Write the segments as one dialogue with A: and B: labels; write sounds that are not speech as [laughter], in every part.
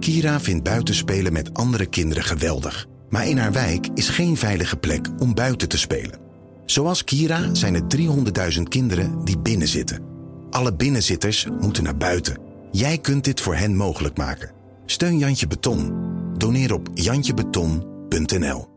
A: Kira vindt buitenspelen met andere kinderen geweldig. Maar in haar wijk is geen veilige plek om buiten te spelen. Zoals Kira zijn er 300.000 kinderen die binnenzitten. Alle binnenzitters moeten naar buiten. Jij kunt dit voor hen mogelijk maken. Steun Jantje Beton. Doneer op jantjebeton.nl.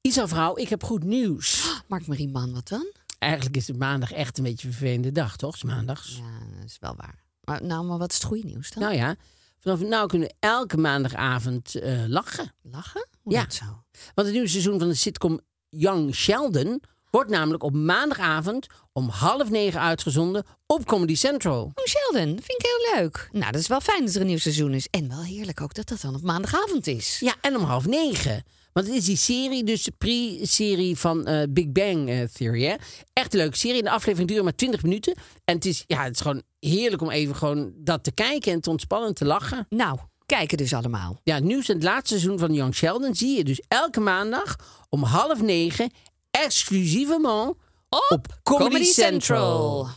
B: Isa vrouw, ik heb goed nieuws.
C: Mark Marie Man, wat dan?
B: Eigenlijk is het maandag echt een beetje een vervelende dag, toch? Het is maandags.
C: Ja, dat is wel waar. Maar, nou, maar wat is het goede nieuws dan?
B: Nou ja, vanaf nu kunnen we elke maandagavond eh, lachen.
C: Lachen? Hoe
B: Ja.
C: dat zo? Oh,
B: Want het nieuwe seizoen van de sitcom Young Sheldon wordt namelijk op maandagavond om half negen uitgezonden op Comedy Central.
C: Oh, Sheldon, vind ik heel leuk. Nou, dat is wel fijn dat er een nieuw seizoen is. En wel heerlijk ook dat dat dan op maandagavond is.
B: Ja, en om half negen. Want het is die serie, dus de pre-serie van eh, Big Bang eh, Theory. Hè? Echt een leuke serie. En de aflevering duurt maar 20 minuten. En het is, ja, het is gewoon heerlijk om even gewoon dat te kijken en te ontspannen en te lachen.
C: Nou, kijken dus allemaal.
B: Ja, het nieuws en het laatste seizoen van Young Sheldon zie je dus elke maandag om half negen exclusievement op, Comedy, Central.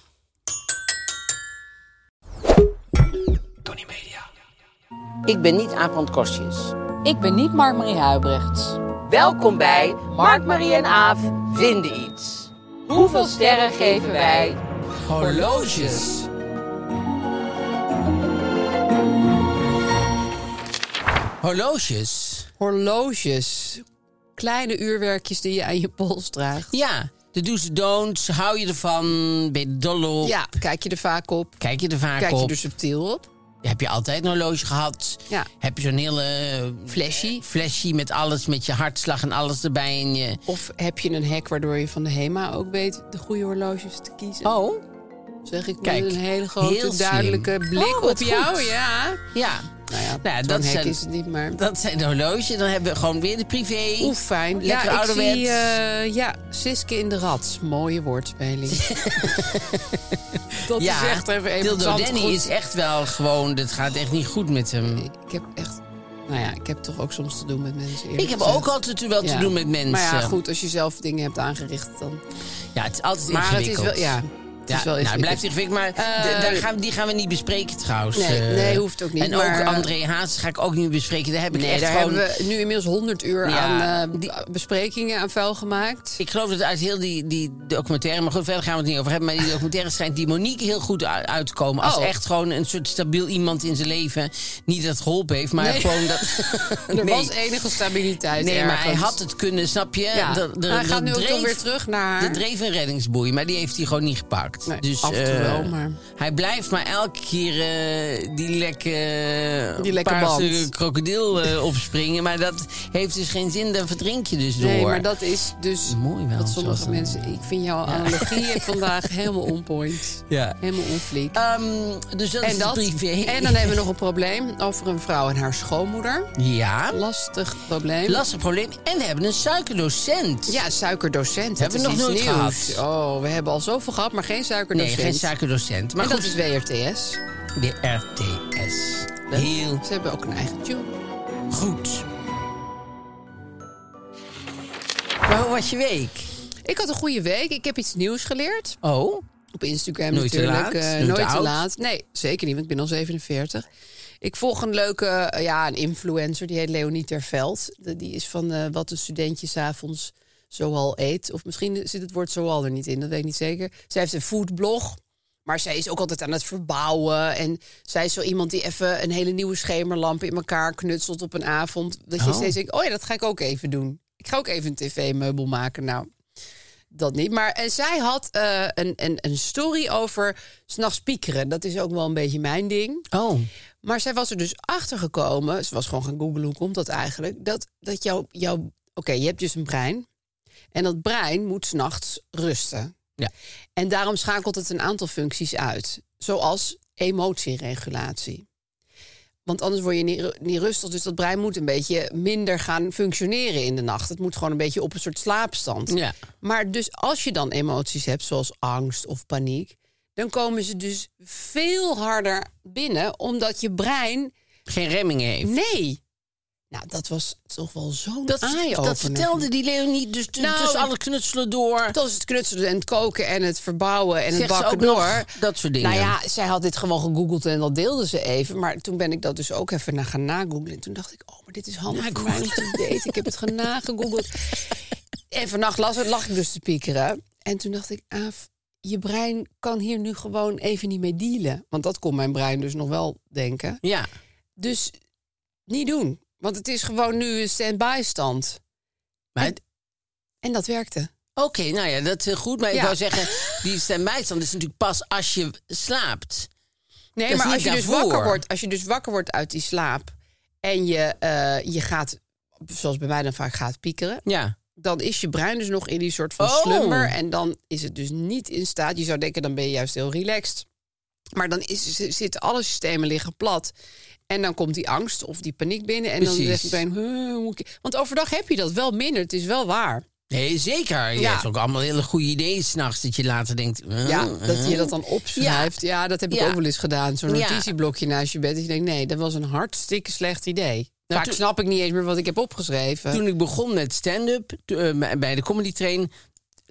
B: Ik ben niet Aaf Kostjes.
D: Ik ben niet Mark-Marie Huibrechts.
B: Welkom bij Mark, Marie en Aaf vinden iets. Hoeveel sterren geven wij? Horloges. Horloges.
D: Horloges. Kleine uurwerkjes die je aan je pols draagt.
B: Ja, de do's en don'ts. Hou je ervan? Ben je dol op?
D: Ja, kijk je er vaak op.
B: Kijk je dus- er vaak
D: Kijk je
B: op?
D: er subtiel op.
B: Heb je altijd een horloge gehad?
D: Ja.
B: Heb je zo'n hele... eh,
D: Flashy.
B: Flashy met alles, met je hartslag en alles erbij. En je...
D: Of heb je een hack waardoor je van de HEMA ook weet de goede horloges te kiezen?
B: Oh.
D: zeg ik
B: kijk,
D: met een hele grote
B: heel slim.
D: duidelijke blik
B: Oh,
D: op
B: wat
D: jou.
B: goed.
D: Ja.
B: Ja.
D: Nou ja,
B: Nou,
D: zo'n
B: dat
D: hack
B: zijn-
D: is het niet, maar...
B: Dat zijn de horloges. Dan hebben we gewoon weer de privé.
D: Oeh, fijn.
B: Lekker
D: ja, ik
B: ouderwets.
D: zie, eh, ja, Siske in de Rats. Mooie woordspeling. [laughs] dat
B: ja,
D: is echt even even
B: Dildo
D: zand
B: Danny
D: goed.
B: is echt wel gewoon... Het gaat echt niet goed met hem.
D: Ik heb echt... Nou ja, ik heb toch ook soms te doen met mensen. eerlijk
B: Ik heb
D: gezegd.
B: ook altijd wel te
D: Ja.
B: doen met mensen.
D: Maar ja, goed, als je zelf dingen hebt aangericht, dan...
B: Ja, het is altijd
D: Maar het is
B: ingewikkeld.
D: wel... Ja, het is wel
B: nou, het blijft
D: ingewikkeld.
B: ingewikkeld, Eh, maar d- daar gaan, we- die gaan we niet bespreken trouwens.
D: Nee,
B: eh.
D: nee, hoeft ook niet,
B: En
D: maar-
B: ook André Haas ga ik ook niet bespreken. Daar heb ik
D: Nee,
B: echt
D: daar
B: gewoon...
D: hebben we nu inmiddels 100 uur
B: Ja,
D: aan eh, besprekingen aan vuil gemaakt.
B: Ik geloof dat uit heel die, die documentaire, maar goed, verder gaan we het niet over hebben. Maar die documentaire schijnt die Monique heel goed u- uit te komen. Als
D: Oh.
B: echt gewoon een soort stabiel iemand in zijn leven. Niet dat het geholpen heeft, maar
D: Nee.
B: gewoon dat.
D: [laughs]
B: Nee.
D: Er was enige
B: [laughs]
D: stabiliteit
B: Nee, maar hij
D: ergens.
B: had het kunnen, snap je?
D: Ja.
B: De- de-
D: hij
B: de
D: gaat nu ook toch
B: dreef-
D: weer terug naar...
B: Er dreef een reddingsboei, maar die heeft hij gewoon niet gepakt.
D: Nee,
B: dus,
D: af en toe
B: eh,
D: wel, maar-
B: Hij blijft maar elke keer eh, die lekke,
D: Die lekke
B: paarse
D: band.
B: krokodil [laughs] eh, opspringen. Maar dat heeft dus geen zin, dan verdrink je dus door.
D: Nee, maar dat is dus
B: Mooi wel,
D: wat sommige
B: zoals dat-
D: mensen... Ik vind jouw
B: [laughs]
D: analogieën vandaag helemaal on point.
B: Ja.
D: Helemaal on fleek.
B: Ehm, dus dat is
D: en,
B: de
D: dat,
B: privé.
D: en dan hebben we nog een probleem over een vrouw en haar schoonmoeder.
B: Ja,
D: Lastig probleem.
B: lastig probleem. En we hebben een suikerdocent.
D: Ja, suikerdocent. Dat
B: Hebben we
D: is
B: nog
D: iets
B: nooit
D: nieuws. Oh, we hebben al zoveel gehad, maar geen
B: nee,
D: suikerdocent.
B: geen suikerdocent. Maar
D: en
B: goed,
D: dat is WRTS.
B: de RTS. Heel
D: Ze hebben ook een eigen tune.
B: goed. Maar hoe was je week?
D: Ik had een goede week. Ik heb iets nieuws geleerd.
B: Oh,
D: Op Instagram
B: Nooit te laat,
D: natuurlijk. eh,
B: nooit te
D: nooit te
B: oud.
D: laat. Nee, zeker niet, want ik ben al 47. Ik volg een leuke eh, ja, een influencer, die heet Leonie Terveld. De- Die is van eh, wat een studentje s'avonds zoal eet. Of misschien zit het woord zoal er niet in, dat weet ik niet zeker. Zij heeft een foodblog, maar zij is ook altijd aan het verbouwen. En zij is zo iemand die even een hele nieuwe schemerlamp in elkaar knutselt op een avond. Dat je
B: Oh.
D: steeds denkt, oh ja, dat ga ik ook even doen. Ik ga ook even een tv-meubel maken, nou dat niet. Maar eh, zij had eh, een, een, een story over s'nachts piekeren. Dat is ook wel een beetje mijn ding.
B: oh.
D: Maar zij was er dus achter gekomen. Ze was gewoon gaan googlen hoe komt dat eigenlijk. Dat, dat jouw. Jou, Oké, je hebt dus een brein. En dat brein moet s'nachts rusten.
B: Ja.
D: En daarom schakelt het een aantal functies uit. Zoals emotieregulatie. Want anders word je niet, ru- niet rustig. Dus dat brein moet een beetje minder gaan functioneren in de nacht. Het moet gewoon een beetje op een soort slaapstand.
B: Ja.
D: Maar dus als je dan emoties hebt, zoals angst of paniek, dan komen ze dus veel harder binnen, omdat je brein.
B: Geen remming heeft.
D: Nee. Nou, dat was toch wel zo'n
B: Dat,
D: eye-opener.
B: dat vertelde die Leonie dus t-
D: Nou,
B: tussen alle knutselen door.
D: Dat is het knutselen en het koken en het verbouwen en het
B: Zegt ze
D: bakken
B: ook
D: door.
B: nog dat soort dingen.
D: Nou ja, zij had dit gewoon gegoogeld en dat deelde ze even. Maar toen ben ik dat dus ook even naar gaan nagooglen. En toen dacht ik, oh, maar dit is handig voor mij om te daten. Ik heb het gaan nagegoogeld. En vannacht las, lag ik dus te piekeren. En toen dacht ik, Aaf, je brein kan hier nu gewoon even niet mee dealen. Want dat kon mijn brein dus nog wel denken.
B: Ja.
D: Dus niet doen. Want het is gewoon nu een stand-by stand.
B: Maar het-
D: En dat werkte.
B: Oké, nou ja, dat is heel goed. Maar ik
D: Ja.
B: wou zeggen, die stand-bijstand is natuurlijk pas als je slaapt.
D: Nee,
B: Dat is
D: maar als
B: niet
D: je, dus
B: daarvoor.
D: wakker wordt, als je dus wakker wordt uit die slaap en je, eh, je gaat, zoals bij mij dan vaak gaat, piekeren,
B: Ja.
D: dan is je brein dus nog in die soort van
B: Oh.
D: slummer en dan is het dus niet in staat. Je zou denken, dan ben je juist heel relaxed. Maar dan is, z- zitten alle systemen liggen plat. En dan komt die angst of die paniek binnen. En dan
B: Precies.
D: zegt het brein, "Huh, hoe moet ik-" want overdag heb je dat wel minder. Het is wel waar.
B: Nee, zeker. Je
D: Ja.
B: hebt ook allemaal hele goede ideeën s'nachts dat je later denkt... eh,
D: Ja,
B: eh.
D: dat je dat dan opschrijft. Ja, dat heb ik
B: Ja.
D: ook wel eens gedaan. Zo'n
B: Ja.
D: notitieblokje naast je bed. Dat je denkt, nee, dat was een hartstikke slecht idee.
B: Nou,
D: Vaak
B: toen-
D: snap ik niet eens meer wat ik heb opgeschreven. Oh
B: Toen ik begon met stand-up to- eh, bij- bij de Comedy Train...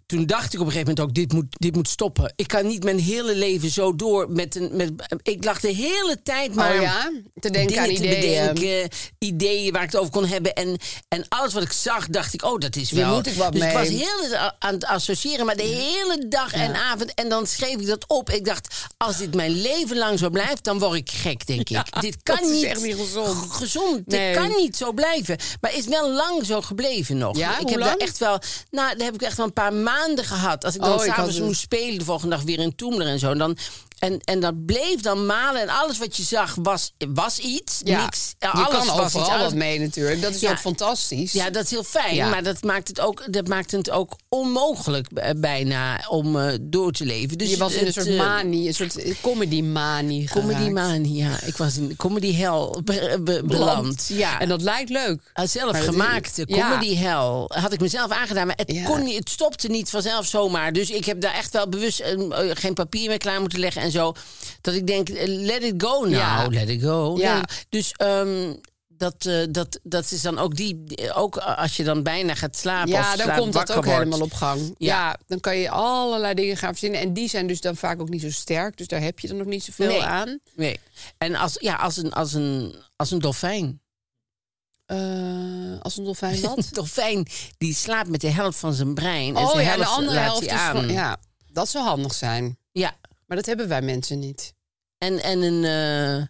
B: Toen dacht ik op een gegeven moment ook, dit moet, dit moet stoppen. Ik kan niet mijn hele leven zo door met een... Met, ik lag de hele tijd maar...
D: oh ja, te denken
B: dingen
D: aan
B: te
D: ideeën.
B: bedenken, ideeën waar ik het over kon hebben. En, en alles wat ik zag, dacht ik, oh, dat is
D: Hier
B: wel...
D: moet ik wat
B: dus
D: mee.
B: ik was heel de- aan het associëren, maar de hele dag en avond. En dan schreef ik dat op. Ik dacht, als dit mijn leven lang zo blijft, dan word ik gek, denk ik. [laughs] Dit kan
D: dat is
B: niet...
D: echt niet gezond.
B: Gezond.
D: Nee.
B: Dit kan niet zo blijven. Maar is wel lang zo gebleven nog.
D: Ja,
B: ik
D: hoe
B: heb
D: lang?
B: daar echt wel... Nou, daar heb ik echt wel een paar maanden gehad. Als ik dan
D: Oh, ik had
B: s'avonds
D: het-
B: moest spelen de volgende dag weer in Toemler en zo. En, dan, en, en dat bleef dan malen. En alles wat je zag was, was iets.
D: Ja,
B: Niks,
D: je
B: alles
D: kan
B: was iets,
D: overal
B: alles-
D: wat mee natuurlijk. Dat is
B: Ja.
D: ook fantastisch.
B: Ja, dat is heel fijn.
D: Ja.
B: Maar dat maakt, het ook, dat maakt het ook onmogelijk eh, bijna om eh, door te leven. Dus
D: je was in een
B: het,
D: soort
B: eh,
D: manie, een soort comedy-manie
B: Comedy
D: geraakt.
B: man, ja. Ik was in comedy hell be- be- beland. Ja.
D: En dat lijkt leuk.
B: Een zelfgemaakte
D: Maar dat is- ja.
B: comedy hell had ik mezelf aangedaan. Maar het,
D: Ja.
B: kon niet, het stopte niet vanzelf zomaar. Dus ik heb daar echt wel bewust eh, eh, geen papier meer klaar moeten leggen en zo. Dat ik denk, eh, let it go now,
D: Ja.
B: let it go.
D: Ja.
B: Let it- Dus ehm, dat, eh, dat, dat is dan ook die... die- Ook eh, als je dan bijna gaat slapen of
D: Ja, dan
B: slaap
D: komt dat
B: wakker
D: ook
B: wordt.
D: helemaal op gang. Ja. dan kan je allerlei dingen gaan verzinnen. En die zijn dus dan vaak ook niet zo sterk. Dus daar heb je dan nog niet zoveel
B: Nee.
D: aan.
B: Nee. En als, ja, als, een, als, een, als een dolfijn.
D: Eh, als een
B: [laughs]
D: dolfijn wat?
B: Een dolfijn die slaapt met de helft van zijn brein. en
D: oh
B: zijn
D: ja, de
B: helft
D: andere
B: laat
D: helft
B: hij
D: is
B: aan.
D: van... Ja, dat zou handig zijn.
B: ja,
D: Maar dat hebben wij mensen niet.
B: En, en een, eh,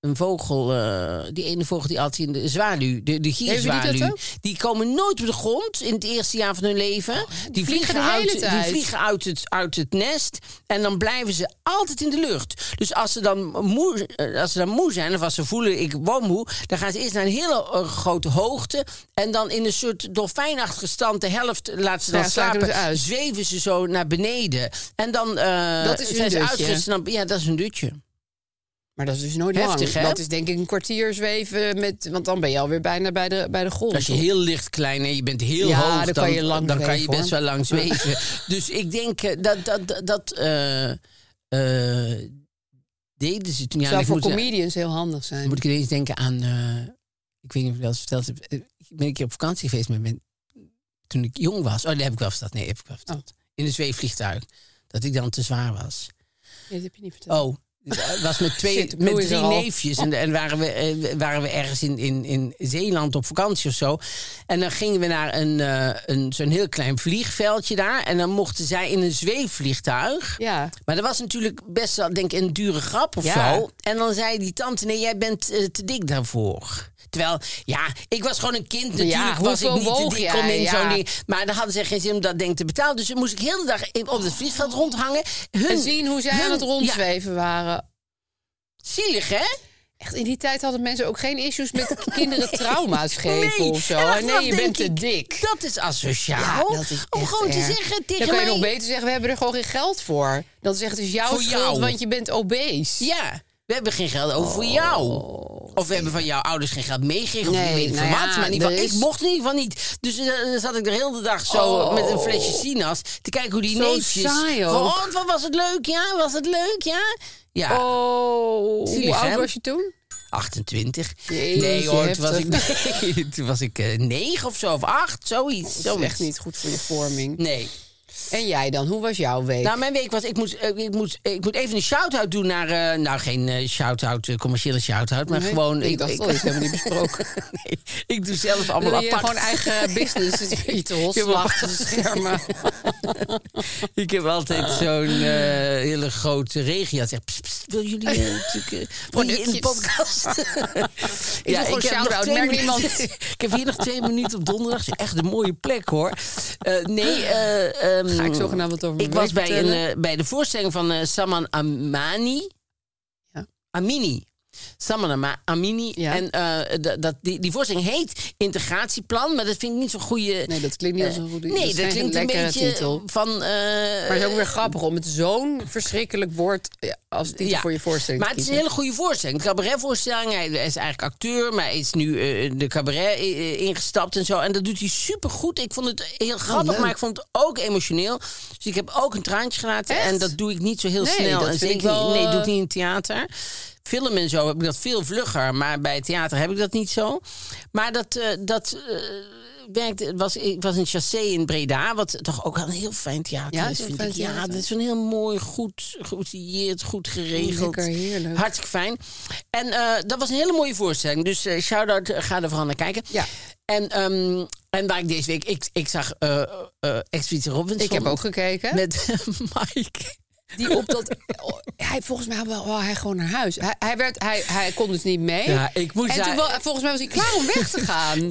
B: een vogel, eh, die ene vogel die altijd in de zwaluw, de, de
D: Hebben die dat
B: gierzwaluw.
D: ook?
B: Die komen nooit op de grond in het eerste jaar van hun leven. die
D: Oh, vliegen
B: vliegen,
D: de hele
B: uit, die
D: tijd.
B: vliegen uit, het, uit het nest en dan blijven ze altijd in de lucht. Dus als ze dan moe, eh, als ze dan moe zijn of als ze voelen ik word moe... dan gaan ze eerst naar een hele eh, grote hoogte... en dan in een soort dolfijnachtige stand de helft laten ze dan
D: Ja, slaken
B: slapen...
D: ze uit.
B: zweven ze zo naar beneden. En dan eh,
D: Dat is hun
B: zijn ze
D: dutje.
B: uitgerust. en dan- Ja, dat is een dutje.
D: Maar dat is dus nooit
B: Heftig, hè?
D: lang. Dat is denk ik een kwartier zweven. Met, want dan ben je alweer bijna bij de, bij de grond.
B: Als je heel licht klein en je bent heel
D: Ja,
B: hoog,
D: dan kan je lang
B: dan kan je
D: zweven,
B: best
D: hoor.
B: wel
D: [laughs]
B: lang zweven. dus ik denk eh, dat dat, dat, dat eh, eh, deden ze toen. Ja, en
D: zou
B: ik
D: voor
B: moet, eh,
D: comedians heel handig zijn.
B: moet ik ineens denken aan, eh, ik weet niet of ik dat eens verteld heb. Eh, Ik ben een keer op vakantie geweest met mijn, toen ik jong was. Oh, dat heb ik wel verteld. Nee, heb ik wel verteld.
D: Oh.
B: In een zweefvliegtuig. Dat ik dan te zwaar was.
D: Nee, dat heb je niet verteld.
B: Oh, het was met, twee,
D: Zit,
B: met
D: bloeien
B: drie
D: er al.
B: neefjes. En, en waren, we, eh, waren we ergens in, in, in Zeeland op vakantie of zo. En dan gingen we naar een, eh, een, zo'n heel klein vliegveldje daar. En dan mochten zij in een zweefvliegtuig.
D: Ja.
B: Maar dat was natuurlijk best wel, denk ik, een dure grap of
D: Ja.
B: zo. En dan zei die tante, nee, jij bent eh, te dik daarvoor. Terwijl, ja, ik was gewoon een kind natuurlijk.
D: Ja,
B: was ik
D: hoeveel
B: niet te
D: woog
B: dik
D: jij?
B: om in
D: Ja.
B: zo'n ding. Maar dan hadden ze geen zin om dat ding te betalen. Dus dan moest ik heel de dag in- op het vliegveld rondhangen. Hun,
D: En zien hoe zij
B: hun-
D: aan het
B: ja,
D: rondzweven waren.
B: Zielig, hè?
D: Echt, in die tijd hadden mensen ook geen issues met
B: [laughs]
D: kinderen trauma's geven
B: Nee.
D: of zo.
B: En achteraf
D: nee, je
B: denk
D: bent te
B: ik,
D: dik.
B: Dat is asociaal.
D: Ja, dat is
B: om
D: echt
B: gewoon
D: erg.
B: te zeggen tegen
D: Dan kan je
B: mij...
D: nog beter zeggen, we hebben er gewoon geen geld voor. Dat is echt dus jouw
B: Voor
D: schuld,
B: jou.
D: want je bent obese.
B: Ja, we hebben geen geld over
D: Oh.
B: voor jou. Of we hebben van jouw ouders geen geld meegekregen. Of
D: Nee,
B: ik weet ik
D: nou
B: van wat.
D: ja,
B: Maar in ieder geval,
D: er is-
B: ik mocht in ieder geval niet. Dus eh, dan zat ik de hele dag zo
D: Oh.
B: met een flesje sinaas... te kijken hoe die
D: Zo
B: neefjes...
D: saai ook.
B: van, oh, wat was het leuk, ja? Was het leuk, ja? Ja,
D: Oh,
B: Zielig,
D: hoe oud
B: hè?
D: was je toen?
B: 28.
D: Jeetje,
B: nee hoor, toen was, ik,
D: heftig.
B: [laughs] nee, toen was ik eh, 9 of zo, of 8, zoiets.
D: Dat is
B: zoiets.
D: echt niet goed voor je vorming.
B: Nee.
D: En jij dan? Hoe was jouw week?
B: Nou, mijn week was, ik moet, eh, ik moet, eh, ik moet even een shout-out doen naar, eh, nou geen eh, shout-out, eh, commerciële shout-out, maar
D: Nee,
B: gewoon...
D: ik dacht al, dit hebben we niet besproken.
B: [laughs] nee, ik doe zelf allemaal
D: Wil je
B: apart.
D: gewoon
B: [laughs]
D: eigen business? [laughs] Iets te
B: Ik heb
D: achter de schermen.
B: [laughs] Ik heb altijd zo'n eh, hele grote regio. Zeg, pst, pst, wil jullie
D: [laughs]
B: eh, natuurlijk, eh, wil je in de
D: Productjes. [laughs]
B: podcast? [laughs]
D: doe gewoon
B: heb nog
D: shout-out,
B: twee
D: merkt
B: minuten-
D: niemand.
B: [laughs] ik heb hier nog twee minuten op donderdag. Is Echt een mooie plek, hoor. Eh, nee, eh, ehm,
D: Ga ik zogenaamd wat over mijn
B: ik was
D: week
B: bij, een,
D: vertellen?
B: eh, bij de voorstelling van eh, Saman Amani.
D: Ja.
B: Amini. Saman Ama- Amini.
D: Ja.
B: En eh, d- dat, die, die voorstelling heet Integratieplan, maar dat vind ik niet zo'n goede...
D: Nee, dat klinkt niet als een goede
B: eh, Nee, dat,
D: geen
B: klinkt een eh,
D: lekkere
B: beetje
D: titel.
B: van... eh,
D: Maar het is ook weer grappig om met zo'n verschrikkelijk woord ja, als titel
B: Ja.
D: voor je voorstelling
B: Maar
D: te
B: het is een
D: kiezen.
B: hele goede voorstelling. Een cabaretvoorstelling. Hij is eigenlijk acteur, maar hij is nu eh, de cabaret eh, ingestapt en zo. En dat doet hij supergoed. Ik vond het heel grappig,
D: Oh, leuk.
B: maar ik vond het ook emotioneel. Dus ik heb ook een traantje gelaten.
D: Echt?
B: En dat doe ik niet zo heel
D: Nee,
B: snel.
D: dat
B: en
D: vind
B: zeker
D: ik wel,
B: niet- nee,
D: eh,
B: doe ik niet in theater. Film en zo heb ik dat veel vlugger, maar bij theater heb ik dat niet zo. Maar dat, eh, dat eh, werkte. Het was, ik was in Chassé in Breda, wat toch ook wel een heel fijn theater is,
D: Ja, het is een
B: vind
D: fijn
B: ik. Ja,
D: theater.
B: dat is een heel mooi, goed geoutilleerd, goed geregeld.
D: Lekker, heerlijk.
B: Hartstikke fijn. En eh, dat was een hele mooie voorstelling. Dus eh shout-out, eh, ga er vooral naar kijken.
D: Ja.
B: En, ehm, en waar ik deze week... Ik, ik zag eh eh, Expeditie Robinson.
D: Ik heb ook gekeken.
B: Met [laughs] Mike.
D: Die op dat... oh, hij, volgens mij wel, wou hij gewoon naar huis. Hij, hij, werd, hij, hij kon dus niet mee.
B: Ja, ik moest
D: en toen,
B: daar-
D: wel- volgens mij was hij klaar om weg te gaan.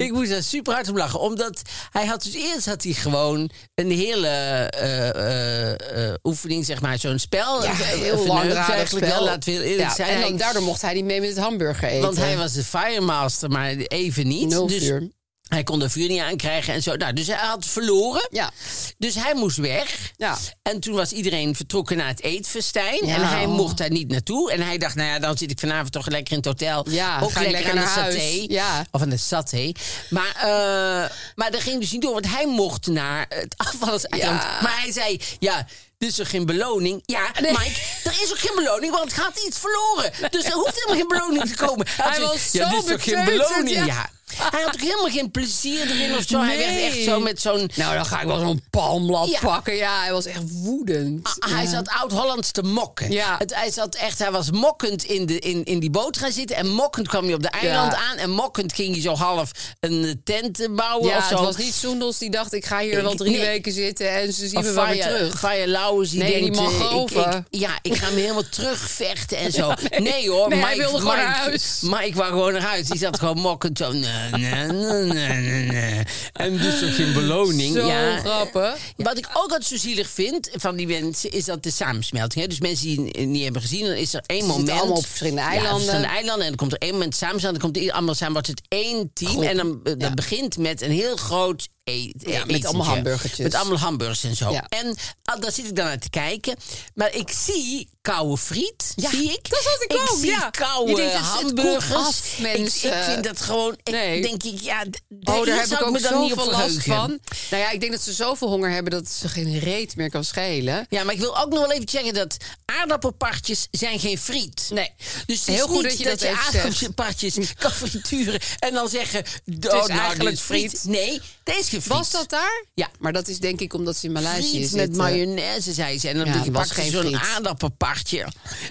B: [laughs] Ik moest daar super hard om lachen. Omdat hij had dus eerst had hij gewoon een hele eh, eh, eh, oefening, zeg maar, zo'n spel.
D: ja,
B: Een- een
D: heel
B: verneukt
D: langdradig
B: eigenlijk
D: spel.
B: wel, laten we heel eerlijk
D: Ja,
B: zijn.
D: En dan,
B: Hij-
D: daardoor mocht hij niet mee met het hamburger eten.
B: want hij was de firemaster, maar even niet.
D: Nul
B: dus
D: vuur.
B: hij kon er vuur niet aan krijgen en zo. Nou, dus hij had verloren.
D: Ja.
B: Dus hij moest weg.
D: Ja.
B: En toen was iedereen vertrokken naar het eetfestijn.
D: Ja.
B: En hij mocht daar niet naartoe. En hij dacht, nou ja, dan zit ik vanavond toch lekker in het hotel.
D: Ja,
B: Ook
D: ga
B: lekker,
D: ik lekker
B: aan de
D: naar huis.
B: saté.
D: Ja.
B: Of aan de saté. Maar, eh, maar dat ging dus niet door. Want hij mocht naar het afvallerseiland.
D: Ja.
B: Maar hij zei, ja... Dus er geen beloning. Ja, Mike, er is ook geen beloning, want het gaat iets verloren. Dus er hoeft helemaal geen beloning te komen.
D: Hij
B: Toen-
D: was
B: ja,
D: zo
B: dit is toch geen
D: beteuterd,
B: beloning?
D: ja.
B: ja. Hij had ook helemaal geen plezier erin of zo. Hij werd
D: Nee.
B: echt zo met zo'n...
D: Nou, dan ga ik wel zo'n palmblad
B: Ja.
D: pakken. Ja, hij was echt woedend.
B: Ah, Hij zat oud-Hollands te mokken.
D: eh. Ja.
B: Het, hij, zat echt, hij was mokkend in, de, in, in die boot gaan zitten. En mokkend kwam hij op de eiland
D: Ja.
B: aan. En mokkend ging hij zo half een eh, tent eh, bouwen
D: Ja,
B: of zo.
D: het was niet Soendels die dacht, ik ga hier wel drie
B: Nee.
D: weken zitten en ze zien
B: Of
D: me wel weer
B: Faya-
D: terug.
B: Faya Lauwers, die
D: Nee, die
B: denkt...
D: mag
B: eh, ik-
D: over.
B: ik- ja, ik ga me helemaal terugvechten en
D: [laughs]
B: zo. nee. hoor,
D: Nee,
B: Mike,
D: hij wilde gewoon
B: Mike-
D: naar huis.
B: Mike wou gewoon naar huis. Die zat gewoon mokkend zo... Nee, nee, nee, nee, nee. En dus ook geen beloning.
D: Zo
B: ja.
D: grappig.
B: Wat ik ook altijd zo zielig vind van die mensen, is dat de samensmelting. Hè? Dus mensen die het niet hebben gezien, dan is er één moment.
D: allemaal op verschillende
B: Ja,
D: eilanden.
B: verschillende eilanden. Nou, En dan komt er één moment samen, dan komt iedereen allemaal samen, wordt het één team.
D: Groep.
B: En dan, eh, dat
D: Ja.
B: begint met een heel groot eet,
D: met
B: etentje.
D: allemaal hamburgertjes.
B: Met allemaal hamburgers en zo.
D: Ja.
B: En ah, daar zit ik dan naar te kijken. Maar ik zie koude friet,
D: Ja,
B: zie ik.
D: dat had ik ook,
B: zie
D: ja.
B: koude
D: Je denkt, het- het koelt
B: hamburgers.
D: af,
B: Ik- Ik,
D: mensen.
B: vind dat gewoon, ik
D: Nee.
B: denk ik, ja, d-
D: Oh,
B: hier
D: daar heb
B: zou
D: ik ook
B: me dan niet op
D: zoveel last
B: verheugen.
D: van. Nou ja, ik denk dat ze zoveel honger hebben dat ze geen reet meer kan schelen.
B: Ja, maar ik wil ook nog wel even zeggen dat aardappelpartjes zijn geen friet. Nee. Dus het is
D: Heel goed
B: niet
D: dat je dat
B: je
D: even zegt. [laughs]
B: aardappelpartjes kan frituren en dan zeggen... Het
D: "Oh, eigenlijk nou, friet.
B: Nee, het is geen friet.
D: Was dat daar?
B: Ja.
D: Maar dat is denk ik omdat ze in
B: Friet
D: Maleisië zitten.
B: met mayonaise, zei ze. En dan
D: Ja,
B: pakte
D: het was
B: pakte
D: geen
B: zo'n
D: friet.
B: aardappelpartje.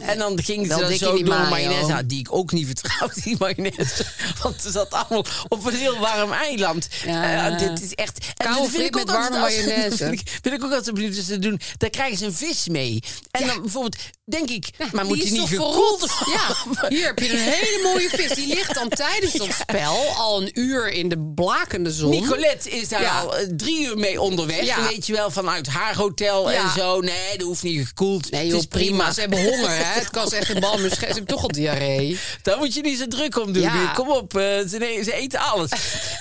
B: En dan ging
D: Wel
B: ze dan
D: dik in
B: zo
D: die
B: door
D: mayo.
B: mayonaise. Nou, die ik ook niet vertrouwde, [laughs] die mayonaise. Want ze zat allemaal op een heel warm eiland.
D: Ja.
B: Eh, dit is echt... en
D: Koude
B: dat vind
D: friet
B: ik ook
D: met warme
B: altijd-
D: mayonaise.
B: vind ik- [laughs] Vind ik ook altijd benieuwd wat ze doen. Daar krijgen ze een vis mee. En dan bijvoorbeeld, denk ik... maar moet
D: die
B: die
D: is
B: niet
D: toch
B: gekoeld
D: verrot?
B: worden?
D: Ja, hier heb je een hele mooie vis. Die ligt dan tijdens dat spel al een uur in de blakende zon.
B: Nicolette is daar
D: Ja.
B: al eh, drie uur mee onderweg.
D: Ja.
B: Weet je wel, vanuit haar hotel
D: Ja.
B: en zo. Nee, dat hoeft niet gekoeld.
D: Nee
B: het
D: joh,
B: is prima.
D: Ze hebben honger, hè. Het kan ze echt geen bal meer schelen. Ze hebben toch al diarree.
B: Daar moet je niet zo druk om doen.
D: Ja.
B: Kom op, eh, ze, ne- ze eten
D: [laughs]
B: alles.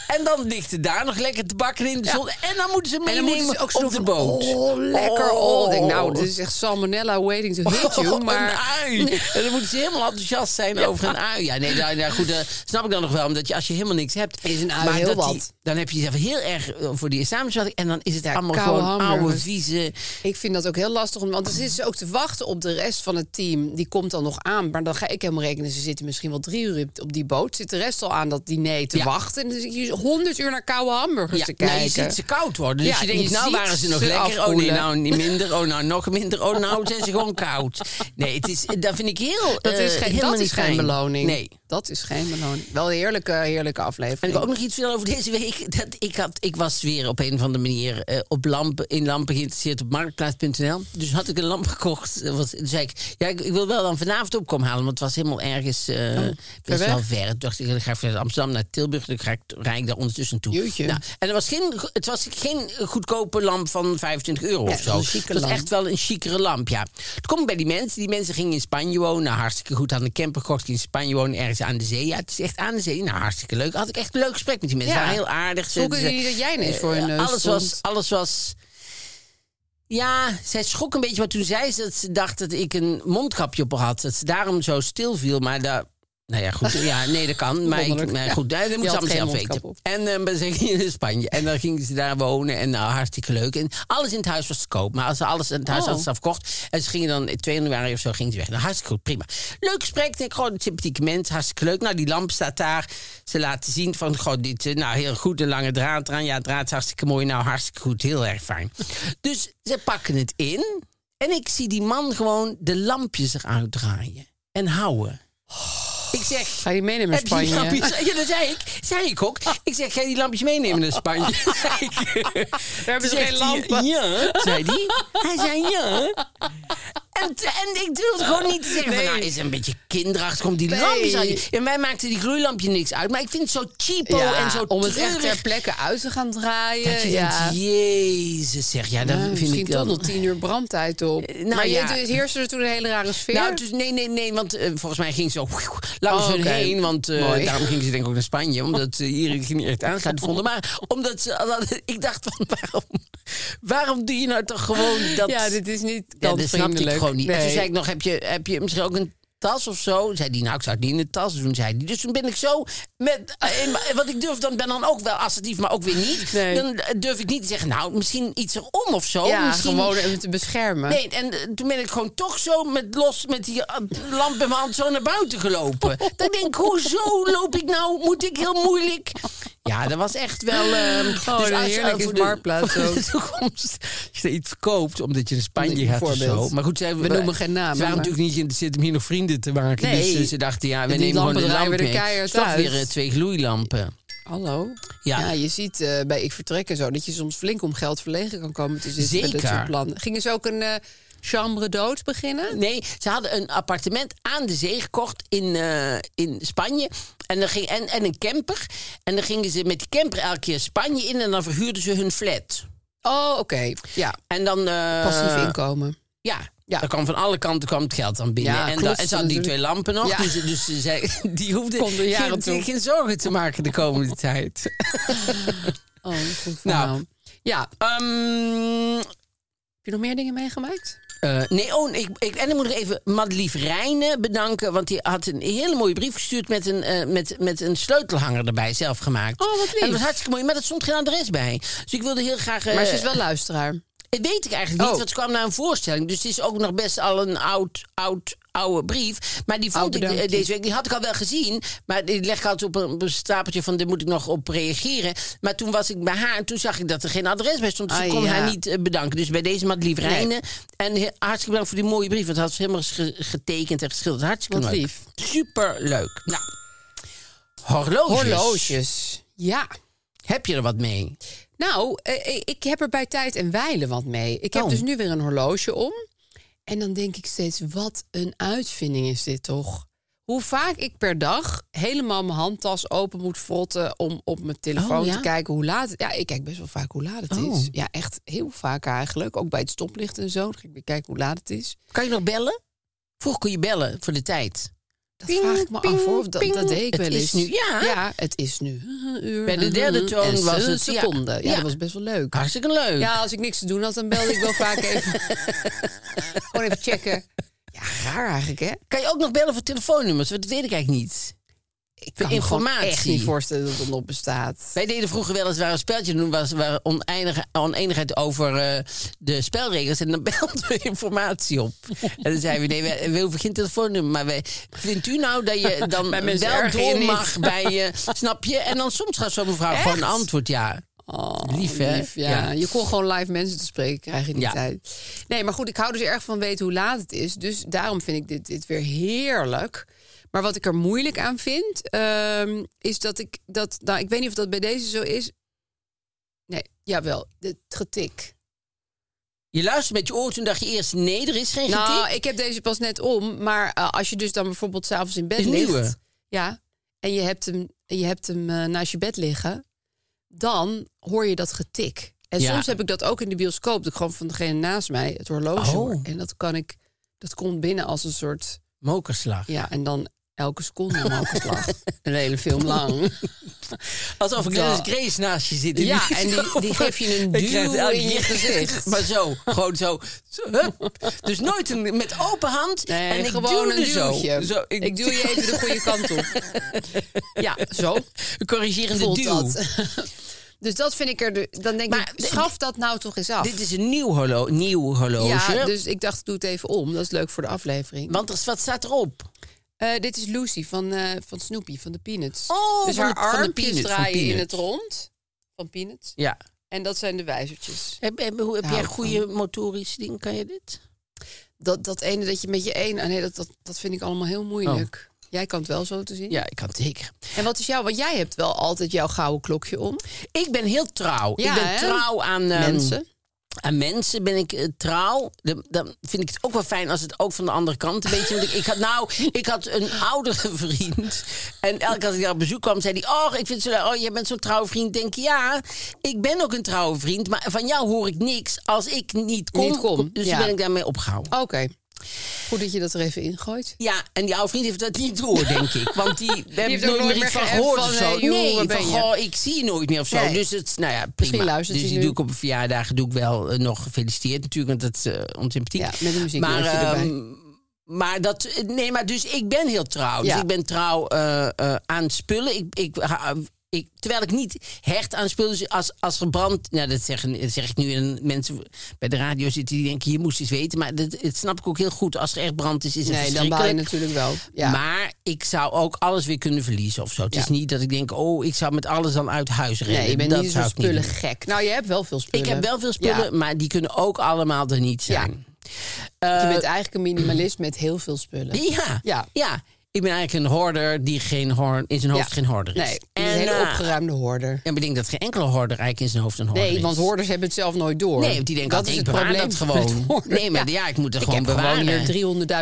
B: en dan ligt het daar nog lekker te bakken in de
D: Ja.
B: zon. En dan moeten ze
D: En dan
B: meenemen
D: moeten ze ook Oh, zo
B: op de
D: van,
B: boot.
D: nou,
B: Oh.
D: dus Oh, lekker. Oh. Ik denk, nou, dit is echt salmonella waiting to hit jong,
B: [laughs]
D: maar...
B: Een ui. [laughs] En dan moeten ze helemaal enthousiast zijn over een ui. Ja, nee, nou, nou, goed, dat snap ik dan nog wel. Omdat je, als je helemaal niks hebt...
D: Is een ui
B: maar
D: heel
B: dat die-
D: wat.
B: dan heb je jezelf heel erg eh, voor die samenstelling. En dan is het allemaal
D: koude
B: gewoon
D: hamburgers.
B: oude, vieze...
D: Ik vind dat ook heel lastig, om- want het is ook te wachten op de rest van het team. Die komt dan nog aan, maar dan ga ik helemaal rekenen. Ze zitten misschien wel drie uur op- op die boot. Zit de rest al aan dat diner te
B: Ja.
D: wachten. En dan zit je honderd uur naar koude hamburgers te
B: nou,
D: kijken.
B: je ziet ze koud worden. Dus
D: Ja,
B: je denkt,
D: je
B: nou
D: ziet
B: waren ze nog
D: ze
B: lekker. Oh nee,
D: afkoelen.
B: nou niet minder. Oh nou nog minder. Oh
D: [laughs]
B: nou zijn ze gewoon koud. Nee, het is, dat vind ik heel
D: dat is,
B: eh,
D: geen,
B: helemaal
D: dat
B: niet
D: is geen
B: fijn.
D: beloning.
B: Nee.
D: Dat is geen beloning. Wel een heerlijke, heerlijke
B: En ik
D: aflevering.
B: wil ook nog iets vertellen over deze week. [laughs] Dat ik, had, ik was weer op een of andere manier eh, op lampen, in lampen geïnteresseerd op marktplaats.nl. Dus had ik een lamp [laughs] gekocht. Eh, Was, toen zei ik, ja, ik, ik wil wel dan vanavond opkomen halen. Want het was helemaal ergens eh, best
D: Oh, weg?
B: wel ver. Toen dacht ik, dan ga ik vanuit Amsterdam naar Tilburg. Dan ga ik, rijd ik daar ondertussen naartoe.
D: Jeetje.
B: Nou, en het was, geen, go- het was geen goedkope lamp van 25 euro of
D: het
B: zo.
D: was een chique
B: Het was
D: lamp.
B: echt wel een chicere lamp, ja. Toen kom ik bij die mensen. Die mensen gingen in Spanje wonen. Nou, Hartstikke goed. Hadden een camper gekocht. In Spanje wonen ergens aan de zee. Ja, het is echt aan de zee. Nou, hartstikke leuk. Had ik echt een leuk gesprek met die mensen.
D: Ja.
B: Ze waren heel aardig. Ze-
D: Hoe kunnen
B: ze-
D: jullie dat jij ineens voor
B: eh,
D: hun neus
B: alles
D: stond?
B: was, alles was... Ja, zij schrok een beetje. Maar toen zei ze dat ze dacht dat ik een mondkapje op had. Dat ze daarom zo stil viel. Maar daar... Nou ja, goed. Ja, nee, dat
D: [laughs]
B: kan. Maar, ik,
D: Wonderlijk.
B: maar
D: Ja.
B: goed, daar, dat
D: Je
B: moet ze
D: had
B: allemaal zelf
D: geen
B: weten.
D: mondkap op.
B: En eh, maar ze gingen in Spanje. En dan gingen ze daar wonen. En nou, hartstikke leuk. En alles in het huis was te koop. Maar als ze alles in het huis
D: Oh.
B: hadden ze afgekocht. En ze gingen dan in 2 januari of zo gingen ze weg. Nou, hartstikke goed, prima. Leuk gesprek. Denk, gewoon een sympathieke mens. Hartstikke leuk. Nou, die lamp staat daar. Ze laten zien van, goh, dit, eh, nou, heel goed. Een lange draad eraan. Ja, draad is hartstikke mooi. Nou, hartstikke goed. Heel erg fijn. Dus ze pakken het in. En ik zie die man gewoon de lampjes eruit draaien. En houden. Ik zeg,
D: Ga je meenemen naar
B: heb je die
D: Spanje? Ah.
B: lampjes? Ja, dat zei ik. Zei ik ook. Ik zeg, ga je die lampjes meenemen naar Spanje? [laughs] Zei ik.
D: Daar hebben ze
B: Zegt hij,
D: geen lampen.
B: Ja, zei die. Hij zei
D: [laughs]
B: ja. En, t- en ik wilde gewoon niet zeggen, van,
D: Nee.
B: nou, is een beetje kinderachtig om die
D: Nee.
B: lampjes aan. En mij maakte die gloeilampje niks uit. Maar ik vind het zo cheapo
D: Ja,
B: en zo
D: om het echt
B: treurig
D: ter plekke uit te gaan draaien.
B: Dat je
D: ja.
B: denkt, jezus zeg. Ja, dat
D: Nou,
B: vind
D: misschien
B: ik
D: toch
B: dan...
D: nog tien uur brandtijd op.
B: nou
D: maar
B: ja.
D: je, het heerste er toen een hele rare sfeer.
B: Nou, dus nee, nee, nee, want eh, volgens mij ging ze ook [laughs] langs
D: Oh,
B: hun
D: oké.
B: heen. Want eh,
D: Mooi.
B: daarom ging ze denk ik ook naar Spanje. Omdat ze hier
D: [laughs]
B: het niet echt aangaan vonden. Maar omdat ze... [laughs] ik dacht van, waarom, waarom doe je nou toch gewoon dat...
D: ja, dit is niet
B: Ja, dat snapte ik
D: kantvriendelijk.
B: gewoon niet. En toen
D: Nee.
B: zei ik nog, heb je, heb je misschien ook een tas of zo? Zei die, nou, ik zou het niet in de tas doen, zei die. Dus toen ben ik zo met... eh, in- Want ik durf dan, ben dan ook wel assertief, maar ook weer niet.
D: Nee.
B: Dan eh, durf ik niet te zeggen, nou, misschien iets erom of zo.
D: ja,
B: misschien,
D: gewoon om het te beschermen.
B: Nee, en eh, toen ben ik gewoon toch zo met los met die eh, lamp in mijn hand zo naar buiten [laughs] gelopen. Dan denk ik, hoezo loop ik nou? Moet ik heel moeilijk? Ja, dat was echt wel... ehm,
D: Oh,
B: als je-
D: heerlijk
B: voor
D: is
B: de-
D: Marktplaats
B: voor
D: ook.
B: de toekomst. Als je er iets verkoopt omdat je naar Spanje gaat of
D: Bijvoorbeeld.
B: zo. Maar goed, zij,
D: We noemen geen namen,
B: Ze
D: maar-
B: waren natuurlijk niet geïnteresseerd om hier nog vrienden te maken.
D: Nee.
B: Dus eh, ze dachten, ja, we
D: Die
B: nemen gewoon
D: lampen
B: een lamp
D: draaien we
B: mee.
D: de keihard
B: Toch
D: uit.
B: weer eh, twee gloeilampen.
D: Hallo?
B: Ja.
D: Ja. je ziet eh, bij Ik Vertrek en zo... dat je soms flink om geld verlegen kan komen te zitten met dat
B: Zeker.
D: soort plannen. Gingen ze ook een eh, chambre dood beginnen?
B: Nee, ze hadden een appartement aan de zee gekocht in, eh, in Spanje. En, dan ging, en, en een camper. En dan gingen ze met die camper elke keer Spanje in en dan verhuurden ze hun flat.
D: Oh, oké. Ja,
B: En dan. eh,
D: passief inkomen.
B: Ja.
D: Ja.
B: Daar kwam van alle kanten kwam het geld dan binnen.
D: Ja,
B: en,
D: klopt,
B: dan, en ze hadden die twee lampen nog.
D: Ja.
B: Dus, dus ze zei, [laughs] die hoefden
D: Konden jaren
B: geen,
D: toe.
B: geen zorgen te maken de komende tijd.
D: Oh, goed
B: Nou.
D: Nou, ja. Heb
B: Ehm,
D: je nog meer dingen meegemaakt?
B: Eh, nee, oh, ik, ik, en dan moet ik even Madelief Rijnen bedanken. Want die had een hele mooie brief gestuurd met een, eh, met, met een sleutelhanger erbij, zelf gemaakt.
D: Oh, wat lief.
B: En dat was hartstikke mooi, maar dat stond geen adres bij. Dus ik wilde heel graag... eh,
D: Maar ze is wel luisteraar.
B: Dat weet ik eigenlijk niet,
D: Oh.
B: want ze kwam naar een voorstelling. Dus het is ook nog best al een oud, oud, oude brief. Maar die vond
D: Oude
B: ik eh,
D: dankje.
B: deze week, die had ik al wel gezien. Maar die leg ik altijd op een, op een stapeltje van, daar moet ik nog op reageren. Maar toen was ik bij haar en toen zag ik dat er geen adres bij stond. Dus
D: Ah,
B: ik kon
D: ja.
B: haar niet eh, bedanken. Dus bij deze Madelief Rijnen. En he- hartstikke bedankt voor die mooie brief. Want dat had ze helemaal ge- getekend en geschilderd. Hartstikke
D: Wat
B: leuk.
D: lief.
B: Superleuk. Nou, horloges.
D: Horloges. Ja.
B: Heb je er wat mee?
D: Nou, eh, eh, ik heb er bij tijd en wijlen wat mee. Ik heb
B: Oh.
D: dus nu weer een horloge om. En dan denk ik steeds, wat een uitvinding is dit toch? Hoe vaak ik per dag helemaal mijn handtas open moet frotten... om op mijn telefoon
B: Oh, ja?
D: te kijken hoe laat het... Ja, ik kijk best wel vaak hoe laat het
B: Oh.
D: is. Ja, echt heel vaak eigenlijk. Ook bij het stoplicht en zo. Dan ga ik weer kijken hoe laat het is.
B: Kan je nog bellen? Vroeger kon je bellen voor de tijd.
D: Dat
B: Ping,
D: vraag ik me
B: ping,
D: af, hoor. Of Dat,
B: ping.
D: dat deed ik
B: Het
D: wel eens.
B: is nu- ja.
D: ja, het is nu. Een uur,
B: Bij de derde
D: en
B: toon
D: zes
B: was het, ja.
D: seconden. Ja,
B: Ja.
D: dat was best wel leuk.
B: Hartstikke leuk. [laughs]
D: Ja, als ik niks te doen had, dan belde ik wel vaak even. Gewoon even checken. Ja, Ja, raar eigenlijk, hè?
B: Kan je ook nog bellen voor telefoonnummers? Dat weet ik eigenlijk niet.
D: Ik
B: Voor
D: kan me gewoon
B: informatie.
D: echt niet voorstellen dat dat nog bestaat.
B: Wij deden vroeger wel eens waar een speltje doen was waar oneindige, oneenigheid over eh, de spelregels. En dan [laughs] belden we informatie op. En dan zeiden we, nee, we, we hoeven geen telefoonnummer. Maar wij, vindt u nou dat
D: [laughs]
B: je dan
D: Bij mensen
B: wel
D: erger je
B: door
D: niet.
B: mag bij je, snap je? En dan soms gaat zo'n mevrouw gewoon een antwoord, ja.
D: Oh,
B: Lief, hè?
D: ja.
B: Ja.
D: Je kon gewoon live mensen te spreken krijg je niet
B: Ja.
D: uit. Nee, maar goed, ik hou dus erg van weten hoe laat het is. Dus daarom vind ik dit, dit weer heerlijk. Maar wat ik er moeilijk aan vind, ehm, is dat ik dat. Nou, ik weet niet of dat bij deze zo is. Nee, jawel, het getik.
B: Je luistert met je oor, toen dacht je eerst, nee, er is geen
D: Nou,
B: getik.
D: ik heb deze pas net om, maar eh, als je dus dan bijvoorbeeld s'avonds in bed
B: Is een
D: ligt.
B: nieuwe.
D: Ja, en je hebt hem, en je hebt hem eh, naast je bed liggen, dan hoor je dat getik. En
B: Ja.
D: soms heb ik dat ook in de bioscoop, dat ik gewoon van degene naast mij het horloge
B: Oh.
D: hoor. En dat kan ik, dat komt binnen als een soort,
B: Mokerslag.
D: ja, en dan elke seconde een
B: [laughs]
D: hogerslag. een hele film lang.
B: Alsof ik
D: Dat-
B: Dennis Grace naast je zit.
D: Ja, en
B: [laughs]
D: die- die geef je een
B: Ik krijg
D: duw
B: het elke
D: in je
B: keer.
D: gezicht.
B: maar zo, gewoon zo. zo, hup. Dus nooit een, met open hand.
D: Nee,
B: en ik
D: gewoon
B: duwde
D: een
B: zo.
D: duwtje.
B: Zo,
D: ik... duw je even de goede kant op.
B: [laughs]
D: ja, zo.
B: Een corrigerende
D: Voelt
B: duw.
D: dat. [laughs] dus dat vind ik er, de- dan denk
B: Maar
D: ik, schaf dat nou toch eens af.
B: Dit is een nieuw, horlo nieuw horloge.
D: Ja, dus ik dacht, ik doe het even om. Dat is leuk voor de aflevering.
B: Want er, wat staat erop?
D: Eh, dit is Lucy van, eh, van Snoopy, van de Peanuts.
B: Oh,
D: dus
B: van
D: haar
B: de- van de
D: armpjes
B: Peanuts, van
D: draaien in het
B: Peanuts.
D: rond. Van Peanuts.
B: Ja.
D: En dat zijn de wijzertjes.
B: Heb, heb, hoe- heb
D: Daar
B: jij
D: hou ik
B: goede motorische dingen? Kan je dit?
D: Dat, dat ene dat je met je één... ah, nee, dat, dat, dat vind ik allemaal heel moeilijk. Oh. Jij kan het wel zo te zien.
B: Ja, ik kan het zeker.
D: En wat is jouw... Want jij hebt wel altijd jouw gouden klokje om.
B: Ik ben heel trouw.
D: Ja,
B: ik ben
D: hè?
B: trouw aan ehm,
D: Mensen.
B: aan mensen ben ik eh, trouw. Dan, dan vind ik het ook wel fijn als het ook van de andere kant een beetje. Want ik, ik had nou, ik had een oudere [laughs] vriend. En elke keer als ik daar op bezoek kwam, zei hij: Oh, ik vind het zo, leuk. oh, jij bent zo'n trouwe vriend. Ik Denk ja, ik ben ook een trouwe vriend. Maar van jou hoor ik niks als ik niet kom.
D: Niet kom,
B: dus
D: ja.
B: ben ik daarmee opgehouden.
D: Oké. Goed dat je dat er even ingooit.
B: Ja, en die oude vriend heeft dat niet door, denk
D: [laughs]
B: ik. Want die, daar heb
D: heeft
B: ik
D: ook
B: nooit meer iets van gehoord
D: van,
B: of zo.
D: eh, joh,
B: nee,
D: waar ben
B: van,
D: je?
B: goh, ik zie je nooit meer of zo.
D: Nee.
B: Dus het, nou ja, prima.
D: Misschien luistert
B: dus
D: hij
B: die
D: nu.
B: doe ik op een verjaardag doe ik wel eh, nog gefeliciteerd natuurlijk, want dat is uh, onsympathiek.
D: Ja, met een muziekje
B: maar,
D: erbij.
B: ehm, maar dat, nee, maar dus ik ben heel trouw.
D: Ja.
B: Dus ik ben trouw eh, eh, aan spullen. Ik, ik, ha- ik, terwijl ik niet hecht aan spullen. Dus als, als er brand. Nou, dat zeg, dat zeg ik nu. En mensen bij de radio zitten die denken: je moest eens weten. Maar dat, dat snap ik ook heel goed. Als er echt brand is, is het
D: Nee, dan baal je
B: verschrikkelijk.
D: natuurlijk wel. Ja.
B: Maar ik zou ook alles weer kunnen verliezen of zo. Het
D: Ja.
B: is niet dat ik denk, oh, ik zou met alles dan uit huis rennen.
D: nee, je bent
B: eh, dat
D: niet zo'n
B: zou ik doen.
D: spullen gek. Nou, je hebt wel veel spullen.
B: Ik heb wel veel spullen,
D: Ja.
B: maar die kunnen ook allemaal er niet
D: Ja.
B: zijn. Eh,
D: Je bent eigenlijk een minimalist met heel veel spullen.
B: Ja,
D: Ja.
B: ja. Ik ben eigenlijk een hoorder die geen hoorn, in zijn hoofd
D: Ja.
B: geen hoorder is.
D: Nee, een hele
B: eh,
D: opgeruimde hoorder.
B: En bedenk dat geen enkele hoorder eigenlijk in zijn hoofd een hoorder
D: Nee,
B: is.
D: want hoorders hebben het zelf nooit door.
B: Nee, want die denken
D: dat is
B: altijd,
D: het
B: ik bewaar
D: probleem
B: dat
D: met
B: gewoon.
D: hoorders.
B: Nee, maar ja, ik moet er
D: Ik
B: gewoon
D: heb
B: bewaren.
D: gewoon hier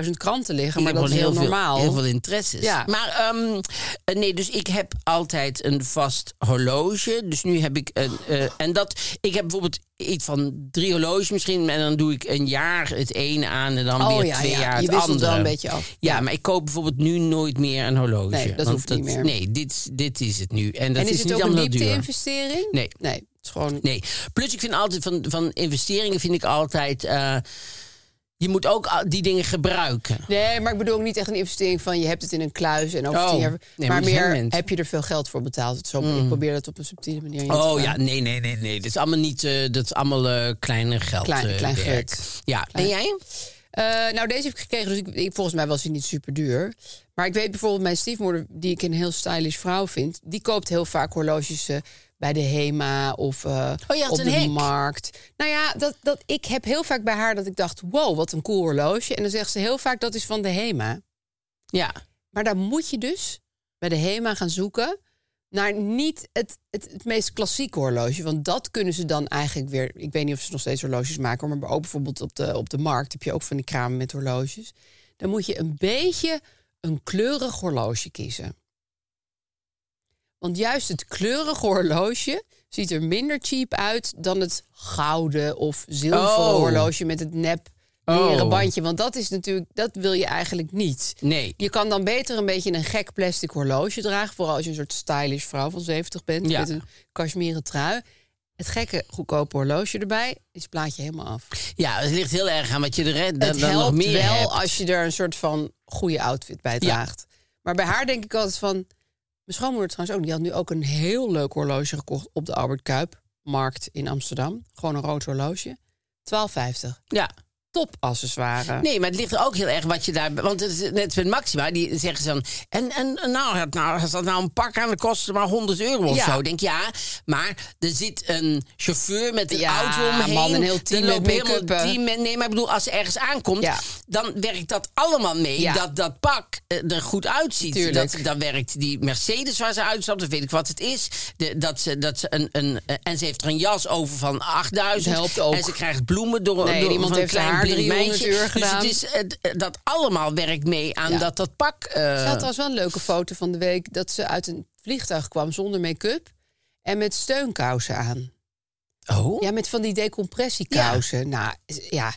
D: 300.000 kranten liggen, maar
B: Ik heb
D: dat is heel
B: gewoon heel
D: normaal.
B: Veel, heel veel interesses.
D: Ja.
B: Maar ehm, eh, nee, dus ik heb altijd een vast horloge. Dus nu heb ik een.
D: Oh.
B: eh, en dat. Ik heb bijvoorbeeld iets van drie horloges misschien. En dan doe ik een jaar het ene aan en dan
D: Oh,
B: weer
D: ja,
B: twee
D: ja.
B: jaar
D: Je
B: het
D: wisselt
B: andere.
D: wel een beetje af.
B: Ja, maar ik koop bijvoorbeeld nu nooit meer een horloge.
D: Nee, dat
B: Want
D: hoeft niet meer.
B: Nee, dit, dit is het nu. En dat
D: en is,
B: is,
D: het
B: niet
D: ook een
B: allemaal heel duur.
D: diepte-investering?
B: Nee.
D: Nee, het is gewoon...
B: Nee. Plus, ik vind altijd van, van investeringen vind ik altijd. eh, je moet ook al die dingen gebruiken.
D: Nee, maar ik bedoel ook niet echt een investering van je hebt het in een kluis en over
B: Oh,
D: tien jaar.
B: nee,
D: maar
B: maar dat is heel
D: meer
B: mens.
D: heb je er veel geld voor betaald. Zo, Ik probeer dat op een subtiele manier. in te
B: Mm. Oh
D: gaan.
B: ja, nee, nee, nee, nee. Dat is allemaal niet. eh, dat is allemaal eh, kleine geld.
D: Klein-
B: eh,
D: klein
B: werk.
D: geld.
B: Ja. En jij?
D: Eh, nou, deze heb ik gekregen, dus ik, ik- volgens mij was hij niet super duur. Maar ik weet bijvoorbeeld mijn stiefmoeder, die ik een heel stylish vrouw vind, die koopt heel vaak horloges eh, bij de Hema of eh,
B: Oh, je had
D: op
B: een
D: de
B: hek.
D: markt. Nou ja, dat, dat, ik heb heel vaak bij haar dat ik dacht, wow, wat een cool horloge. En dan zegt ze heel vaak, dat is van de Hema.
B: Ja.
D: Maar dan moet je dus bij de HEMA gaan zoeken naar niet het, het, het meest klassieke horloge. Want dat kunnen ze dan eigenlijk weer... Ik weet niet of ze nog steeds horloges maken... hoor, maar ook bijvoorbeeld op de, op de markt heb je ook van die kramen met horloges. Dan moet je een beetje een kleurig horloge kiezen. Want juist het kleurige horloge ziet er minder cheap uit... dan het gouden of zilveren
B: Oh.
D: horloge met het nep leren
B: Oh.
D: bandje. Want dat is natuurlijk... Dat wil je eigenlijk niet.
B: Nee.
D: Je kan dan beter een beetje een gek plastic horloge dragen. Vooral als je een soort stylish vrouw van 70 bent.
B: Ja.
D: Met een cashmere trui. Het gekke goedkope horloge erbij is het plaatje helemaal af.
B: Ja, het ligt heel erg aan wat je er hè, dan,
D: het
B: dan nog
D: helpt
B: meer
D: wel
B: hebt.
D: als je er een soort van goede outfit bij draagt. Maar bij haar denk ik altijd van... Mijn schoonmoeder trouwens ook. Die had nu ook een heel leuk horloge gekocht op de Albert Kuip. Markt in Amsterdam. Gewoon een rood horloge. 12,50.
B: Ja.
D: Top accessoire.
B: Nee, maar het ligt er ook heel erg wat je daar... Want het is net met Maxima, die zeggen ze dan... En, en en nou, het- nou, als dat nou een pak aan, dan kost het maar 100 euro of
D: Ja.
B: zo. Ik denk, ja, maar er zit een chauffeur met een
D: Ja,
B: auto omheen.
D: man, een heel
B: Er
D: team
B: loopt
D: met
B: helemaal een
D: make-up, hè.
B: team met- Nee, maar ik bedoel, als ze ergens aankomt...
D: Ja.
B: dan werkt dat allemaal mee.
D: Ja.
B: Dat dat pak eh, er goed uitziet.
D: Tuurlijk.
B: Dat, dan werkt die Mercedes waar ze uitstapt, dan weet ik wat het is. De, dat ze, dat ze een, een, eh, en ze heeft er een jas over van 8000.
D: Dat helpt ook.
B: En ze krijgt bloemen door,
D: Nee,
B: door
D: iemand
B: Oh, van een
D: heeft
B: klein
D: haar
B: blind
D: 300
B: meisje.
D: uur
B: Dus het
D: gedaan.
B: is is het- eh, dat allemaal werkt mee aan
D: Ja.
B: dat dat pak. eh,
D: Ze had trouwens wel een leuke foto van de week dat ze uit een vliegtuig kwam zonder make-up en met steunkousen aan.
B: oh,
D: Ja, met van die decompressiekousen. Nou, z- ja,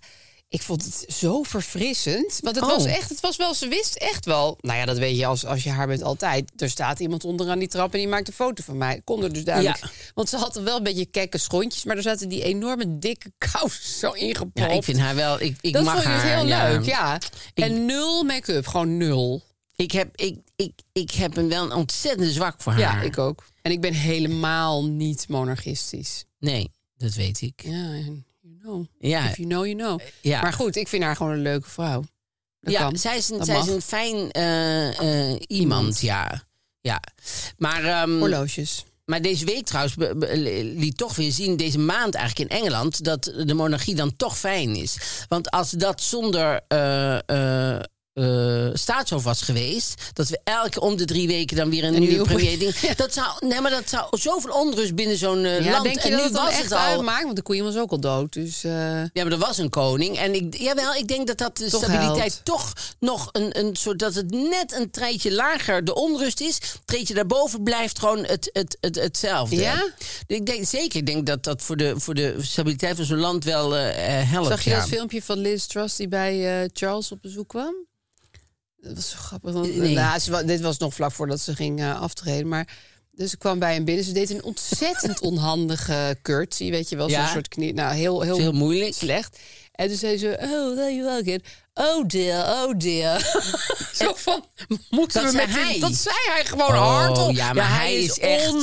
D: ik vond het zo verfrissend. Want het
B: Oh.
D: was echt, het was wel, ze wist echt wel. Nou ja, dat weet je als, als je haar bent altijd. Er staat iemand onderaan die trap en die maakt een foto van mij. Kon er dus duidelijk.
B: Ja.
D: Want ze had wel een beetje kekke schontjes, maar er zaten die enorme dikke [laughs] kousen zo ingepropt.
B: ja, ik vind haar wel. Ik, ik
D: dat
B: mag
D: vond ik dus
B: haar,
D: heel
B: ja.
D: leuk, ja. En nul make-up, gewoon nul.
B: Ik heb, ik, ik, ik heb hem wel een ontzettend zwak voor haar.
D: Ja, ik ook. En ik ben helemaal niet monarchistisch.
B: Nee, dat weet ik.
D: Ja, en you know.
B: Ja, Eh,
D: If you know, you know.
B: ja.
D: Maar goed, ik vind haar gewoon een leuke vrouw. Dat
B: ja
D: kan.
B: zij is een,
D: Dat
B: zij is
D: mag.
B: een fijn eh, eh, iemand, ja. Ja, maar, ehm,
D: Horloges.
B: maar deze week trouwens be- be- liet toch weer zien, deze maand eigenlijk in Engeland, dat de monarchie dan toch fijn is. Want als dat zonder eh eh, eh, staatshoofd was geweest, dat we elke om de drie weken dan weer een, nieuwe
D: nieuwe-
B: premier ding. Dat zou, nee, maar dat zou zoveel onrust binnen zo'n eh,
D: ja,
B: land.
D: denk je
B: en
D: dat
B: nu
D: het dan
B: was
D: echt
B: het al.
D: uitmaakt? Want de koeien was ook al dood. Dus eh,
B: Ja, maar er was een koning. En ik, jawel, ik denk dat dat de
D: Toch
B: stabiliteit
D: helpt.
B: toch nog een, een soort... dat het net een treetje lager de onrust is. Treetje daarboven blijft gewoon het, het, het, hetzelfde.
D: Ja?
B: Dus ik denk, zeker, ik denk dat dat voor de, voor de stabiliteit van zo'n land wel eh, eh, helpt.
D: zag je
B: ja.
D: dat filmpje van Liz Truss die bij eh, Charles op bezoek kwam? Dat was zo grappig. want,
B: Nee.
D: nou, ze wa- dit was nog vlak voordat ze ging eh, aftreden. Maar dus ze kwam bij hem binnen. Ze deed een ontzettend [laughs] onhandige curtsy. Weet je wel,
B: Ja.
D: zo'n soort knie. Nou, heel,
B: Dat
D: heel,
B: is heel moeilijk.
D: slecht. En toen zei ze, oh, there you are kid. Oh dear, oh dear. [laughs] Zo van, moeten
B: Dat
D: we
B: zei
D: met die-
B: hij.
D: Dat zei hij gewoon
B: Oh,
D: hardop.
B: ja, maar hij is echt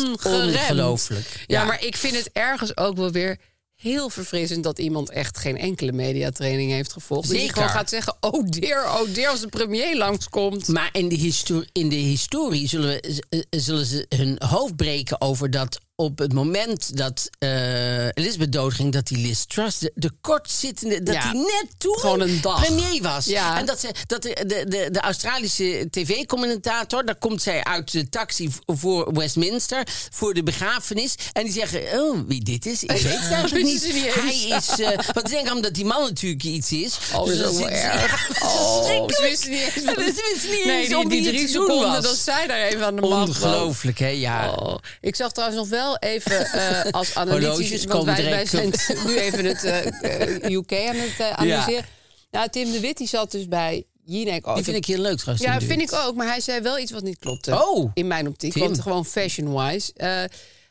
B: ongelooflijk.
D: Ja.
B: Ja.
D: maar ik vind het ergens ook wel weer heel verfrissend... dat iemand echt geen enkele mediatraining heeft gevolgd. Dat je
B: Zeker.
D: gewoon gaat zeggen, oh dear, oh dear... als de premier langskomt.
B: Maar in de, histo- in de historie zullen, we, z- eh, zullen ze hun hoofd breken over dat op het moment dat eh Elizabeth doodging, dat die Liz Truss, de, de kortzittende, dat
D: Ja.
B: die net toen
D: Gewoon een dag.
B: premier was.
D: Ja.
B: En dat, ze, dat de, de, de, de Australische tv-commentator, daar komt zij uit de taxi v- voor Westminster, voor de begrafenis. En die zeggen, oh, wie dit is, ik weet
D: [laughs]
B: het eigenlijk
D: Wisten
B: niet.
D: ze niet
B: Hij
D: eens.
B: is, eh want ik denk omdat die man natuurlijk iets is.
D: Oh, dat is
B: dan
D: ook wel
B: zitten ze- [laughs]
D: erg.
B: Dat is
D: Oh,
B: verschrikkelijk.
D: ze wisten niet eens wat-
B: Ze wisten niet
D: Nee,
B: eens
D: die,
B: om
D: die
B: wie
D: drie
B: het te doen
D: seconden
B: was.
D: dat zij daar even aan de man
B: Ongelooflijk, hè? Ja.
D: Oh, ik zag trouwens nog wel even eh,
B: [laughs]
D: als analyticus,
B: Horloges
D: want
B: komen
D: wij, wij zijn
B: direct
D: [laughs] nu even het eh, eh, UK aan het eh, analyseren. Nou, Tim de Wit die zat dus bij Jinek ook.
B: Die vind ik heel leuk trouwens.
D: ja,
B: die
D: vind ik
B: dude.
D: ook, maar hij zei wel iets wat niet klopte.
B: Oh.
D: In mijn optiek,
B: Tim.
D: want gewoon fashion-wise. Eh,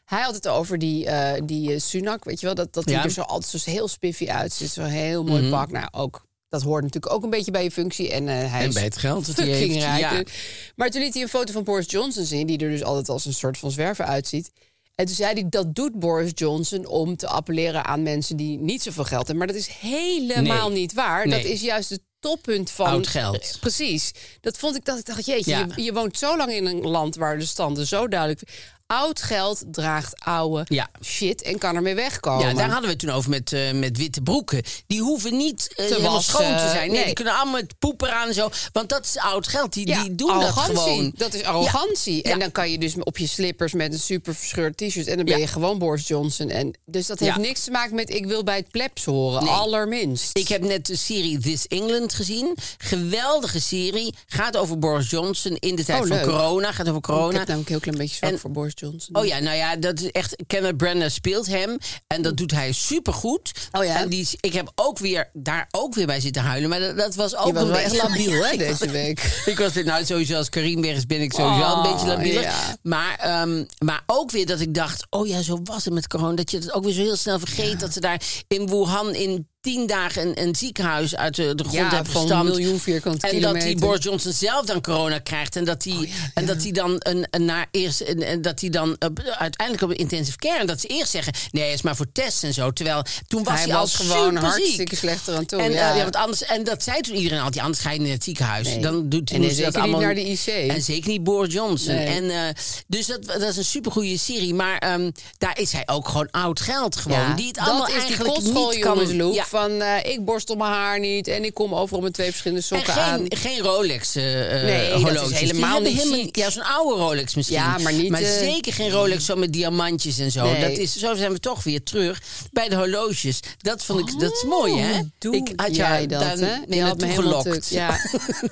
D: hij had het over die, eh, die eh, Sunak, weet je wel, dat, dat die
B: Ja. Mhm.
D: er zo altijd zo heel spiffy uitziet. Zo'n heel mooi pak. Nou, ook, dat hoort natuurlijk ook een beetje bij je functie. En, eh, hij
B: En
D: is
B: bij het geld dat hij
D: fucking
B: heeft,
D: rijk.
B: ja.
D: Maar toen liet hij een foto van Boris Johnson zien, die er dus altijd als een soort van zwerver uitziet. En toen zei hij, dat doet Boris Johnson om te appelleren aan mensen die niet zoveel geld hebben. Maar dat is helemaal
B: Nee.
D: niet waar.
B: Nee.
D: Dat is juist het toppunt van...
B: Oud geld.
D: Precies. Dat vond ik, dat ik dacht, jeetje,
B: Ja.
D: je, je woont zo lang in een land waar de standen zo duidelijk... Oud geld draagt oude
B: Ja.
D: shit en kan ermee wegkomen.
B: Ja, daar hadden we het toen over met, eh, met witte broeken. Die hoeven niet eh,
D: Te
B: helemaal
D: wassen,
B: schoon te zijn. Nee,
D: nee.
B: die kunnen allemaal met poeper aan en zo. Want dat is oud geld. Die,
D: Ja,
B: die doen
D: arrogantie.
B: dat gewoon.
D: Dat is arrogantie.
B: Ja.
D: En dan kan je dus op je slippers met een super verscheurd t-shirt... en dan ben
B: Ja.
D: je gewoon Boris Johnson. En, dus dat heeft
B: Ja.
D: niks te maken met ik wil bij het plebs horen.
B: Nee.
D: Allerminst.
B: Ik heb net de serie This England gezien. Geweldige serie. Gaat over Boris Johnson in de tijd
D: Oh,
B: van
D: leuk.
B: corona. Gaat over
D: Ik
B: corona.
D: heb namelijk een heel klein beetje zwak
B: En-
D: voor Boris Johnson.
B: Oh ja, nou ja, dat is echt. Kenneth Branagh speelt hem en dat doet hij supergoed.
D: Mm. Oh ja.
B: En die, is- ik heb ook weer daar ook weer bij zitten huilen, maar dat, dat was ook
D: Je was
B: een
D: wel echt
B: beetje
D: labiel,
B: [laughs]
D: hè, deze week.
B: Ik was nou sowieso als Karim weg is, ben ik sowieso
D: Oh,
B: al een beetje labielig.
D: ja.
B: Maar, ehm, maar ook weer dat ik dacht, oh ja, zo was het met corona. Dat je het ook weer zo heel snel vergeet dat ze daar in Wuhan in tien dagen een, een ziekenhuis uit de, de grond
D: Ja,
B: hebben
D: van
B: gestampt.
D: een miljoen vierkante
B: En dat die
D: kilometer.
B: Boris Johnson zelf dan corona krijgt. En dat hij
D: Oh,
B: en dat hij dan een, een naar eerst en, en dat hij dan eh, uiteindelijk op een intensive care en dat ze eerst zeggen, nee, het is maar voor tests en zo. Terwijl toen was hij,
D: hij was
B: al
D: gewoon
B: superziek.
D: hartstikke slechter aan toe.
B: En, eh,
D: ja.
B: ja, want anders, en dat zei toen iedereen altijd, anders ga je in het ziekenhuis.
D: Nee.
B: Dan doet
D: En
B: moest
D: zeker
B: dat
D: niet
B: allemaal
D: naar de IC.
B: En zeker niet Boris Johnson.
D: Nee.
B: En, eh, dus dat, dat is een supergoeie serie. Maar ehm, daar is hij ook gewoon oud geld gewoon.
D: Ja,
B: die het allemaal
D: dat is
B: eigenlijk
D: die kostschool,
B: niet kan.
D: jongens, Loek.
B: Ja.
D: Van eh, ik borstel mijn haar niet en ik kom overal met twee verschillende
B: En
D: sokken aan.
B: geen, geen Rolex eh
D: Nee,
B: nee,
D: dat is
B: horloges. Die
D: helemaal
B: hebben
D: niet
B: helemaal-
D: chic.
B: Ja, zo'n oude Rolex misschien.
D: Ja, maar niet, eh,
B: zeker geen Rolex zo met diamantjes en zo.
D: Nee.
B: Dat is, zo zijn we toch weer terug bij de horloges. Dat vond ik, dat is mooi, hè? ik had
D: Oh, jij
B: jou
D: dat,
B: daar
D: hè?
B: mee
D: Je had me
B: naartoe
D: helemaal
B: gelokt.
D: te-
B: [laughs]
D: ja.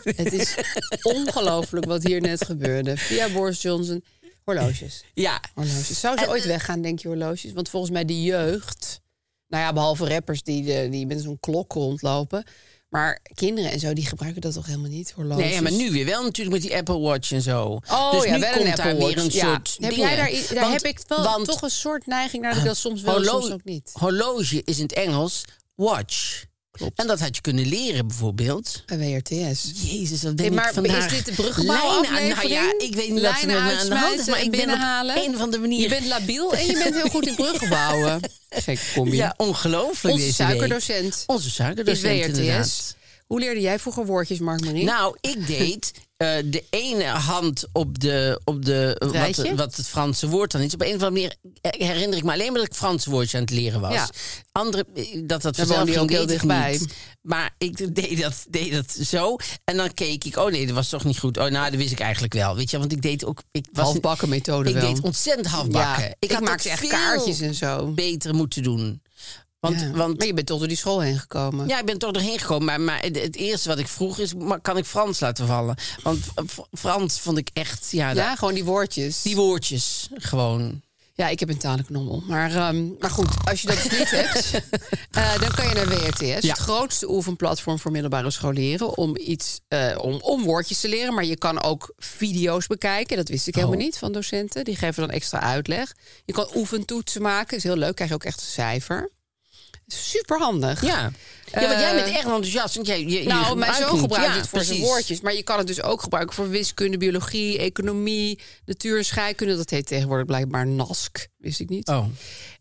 D: Het is ongelooflijk wat hier net gebeurde. Via Boris Johnson. Horloges.
B: Ja,
D: Horloges. Zou ze
B: En,
D: ooit
B: eh,
D: weggaan, denk je, horloges? Want volgens mij de jeugd... Nou ja, behalve rappers die, eh, die met zo'n klok rondlopen. Maar kinderen en zo, die gebruiken dat toch helemaal niet, horloges?
B: Nee, ja, maar nu weer wel natuurlijk met die Apple Watch en zo.
D: Oh
B: dus
D: ja,
B: nu
D: wel
B: komt
D: een
B: daar
D: Apple
B: weer
D: Watch.
B: een
D: Ja.
B: soort
D: Heb
B: dingen.
D: jij daar, i- daar
B: Want-
D: heb ik wel
B: want
D: toch een soort neiging naar dat ik dat soms wel,
B: horlo-
D: soms ook niet.
B: horloge is in het Engels watch.
D: Klopt.
B: En dat had je kunnen leren bijvoorbeeld.
D: Bij WRTS.
B: Jezus, wat ben
D: Hey, maar
B: ik vandaag...
D: is dit de bruggenbouw
B: lijnen aan- Nou ja, ik weet niet wat er met me aan de hand is, maar ik ben op een of andere manier...
D: Je bent labiel en je bent heel goed in
B: [laughs]
D: bruggenbouwen. Gek combi.
B: ja, ongelooflijk
D: Onze
B: deze week.
D: suikerdocent
B: Onze
D: is
B: suikerdocent, inderdaad.
D: WRTS. Hoe leerde jij vroeger woordjes, Mark Marie?
B: [laughs] Nou, ik deed eh, de ene hand op de. Op de eh, wat,
D: Rijtje?
B: wat het Franse woord dan is. Op een of andere manier eh, herinner ik me alleen maar dat ik Franse woordjes aan het leren was.
D: Ja.
B: Andere, eh, dat dat
D: Daar
B: vanzelf
D: woonde je
B: ging,
D: ook heel
B: weet ik
D: dichtbij.
B: niet. Maar ik deed dat, deed dat zo. En dan keek ik, oh nee, dat was toch niet goed. Oh, nou, dat wist ik eigenlijk wel. Weet je, want ik deed ook. Ik was,
D: halfbakken methode
B: Ik
D: wel.
B: deed ontzettend halfbakken.
D: Ja,
B: had dat
D: maakte echt
B: veel
D: kaartjes en zo.
B: beter moeten doen. Want,
D: Ja.
B: want
D: Maar je bent toch door die school heen gekomen.
B: ja, ik ben toch doorheen gekomen. Maar, maar het, het eerste wat ik vroeg is, maar kan ik Frans laten vallen? Want eh, Fr- Frans vond ik echt, ja, da-
D: Ja, gewoon die woordjes.
B: die woordjes gewoon.
D: Ja, ik heb een talenknommel. Maar, ehm, maar goed, als je dat dus niet
B: [laughs]
D: hebt, eh, dan kan je naar WRTS. Het grootste oefenplatform voor middelbare scholieren. Om, iets, eh, om, om woordjes te leren. Maar je kan ook video's bekijken. Dat wist ik
B: Oh.
D: helemaal niet van docenten. Die geven dan extra uitleg. Je kan oefentoetsen maken. is heel leuk. Krijg je ook echt een cijfer. Super handig.
B: Ja. ja, want jij bent echt enthousiast. Want jij, je, je
D: Nou, mijn
B: gebruikt
D: zoon gebruikt
B: ja,
D: het voor zijn
B: precies.
D: woordjes. Maar je kan het dus ook gebruiken voor wiskunde, biologie, economie, natuur, scheikunde. Dat heet tegenwoordig blijkbaar NASC. Wist ik niet.
B: Oh,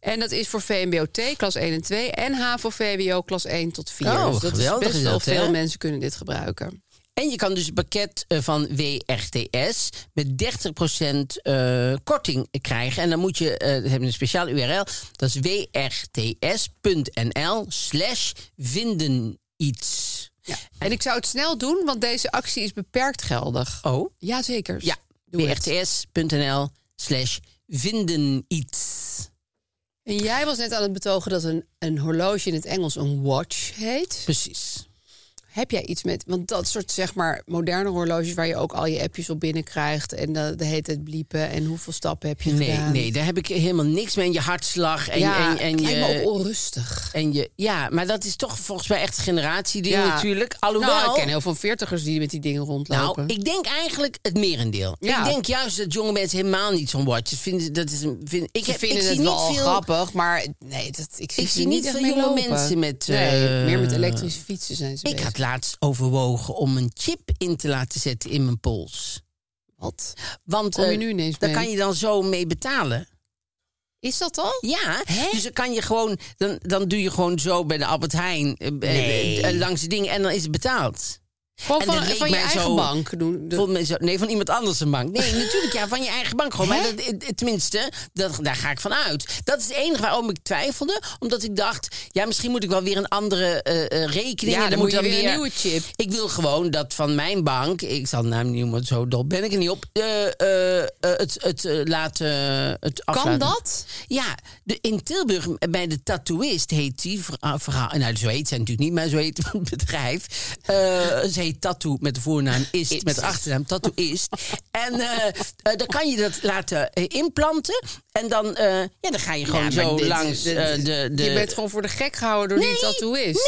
D: En dat is voor VMBOT, klas 1 en 2. En HAVO-VWO, klas 1 tot 4.
B: Oh,
D: dus dat is
B: geweldig
D: best
B: is
D: wel
B: dat, hè?
D: veel mensen kunnen dit gebruiken.
B: En je kan dus het pakket eh, van WRTS met 30% eh, korting krijgen. En dan moet je, eh we hebben een speciale URL. Dat is wrts.nl slash vinden iets.
D: En ik zou het snel doen, want deze actie is beperkt geldig.
B: Oh.
D: Jazeker.
B: Ja,
D: doe het.
B: wrts.nl slash vinden iets.
D: En jij was net aan het betogen dat een, een horloge in het Engels een watch heet.
B: Precies.
D: Heb jij iets met, want dat soort zeg maar moderne horloges... waar je ook al je appjes op binnenkrijgt en de, de heet het bliepen... en hoeveel stappen heb je
B: Nee,
D: gedaan?
B: nee, daar heb ik helemaal niks mee. En je hartslag en,
D: ja,
B: en, en
D: het lijkt me
B: je...
D: ook onrustig.
B: En je, ja, maar dat is toch volgens mij echt een generatieding
D: Ja.
B: natuurlijk.
D: Nou,
B: Alhoewel,
D: ik ken heel veel veertigers die met die dingen rondlopen.
B: Nou, ik denk eigenlijk het merendeel.
D: Ja.
B: Ik denk juist dat jonge mensen helemaal niet zo'n watches vinden. Dat is een, vind, ik,
D: Ze
B: heb,
D: vinden
B: ik zie
D: het
B: niet
D: wel
B: veel,
D: grappig, maar nee, dat, ik zie,
B: Ik
D: ze
B: zie niet
D: echt
B: veel
D: mee
B: jonge
D: lopen.
B: mensen met,
D: Nee,
B: eh,
D: meer met elektrische fietsen zijn ze
B: Ik
D: bezig.
B: had laatst overwogen om een chip in te laten zetten in mijn pols.
D: Wat?
B: Want
D: Kom je
B: eh,
D: nu ineens
B: daar
D: mee?
B: kan je dan zo mee betalen.
D: Is dat al?
B: Ja, dus dan kan je gewoon, dan, dan doe je gewoon zo bij de Albert Heijn eh, eh, eh, langs de dingen en dan is het betaald.
D: Gewoon
B: En
D: van,
B: dat leek
D: van je
B: mij
D: eigen
B: zo-
D: bank doen. De-
B: Vond men zo- nee, van iemand anders een bank.
D: [laughs]
B: Nee, natuurlijk ja, van je eigen bank gewoon. Maar dat, eh, tenminste, dat, daar ga ik van uit. Dat is het enige waarom ik twijfelde. Omdat ik dacht, ja, misschien moet ik wel weer een andere eh, eh, rekening.
D: Ja,
B: en
D: dan moet je weer een
B: weer-
D: nieuwe chip.
B: Ik wil gewoon dat van mijn bank, ik zal de naam niet noemen, want zo dol ben ik er niet op, eh, eh, eh, het, het eh, laten, het
D: kan
B: aflaten.
D: dat?
B: Ja, de, in Tilburg eh, bij de tattooist heet die ver- ah, verhaal. Nou, zo heet zij natuurlijk niet, maar zo heet het [laughs] bedrijf. Eh, ze André Tattoo met de voornaam Ist,
D: Ist.
B: met de achternaam Tattoo Ist. en eh, eh, dan kan je dat laten eh, implanten. En dan, eh, ja, dan ga je gewoon zo langs eh, de, de...
D: Je bent gewoon voor de gek gehouden door die tattooist.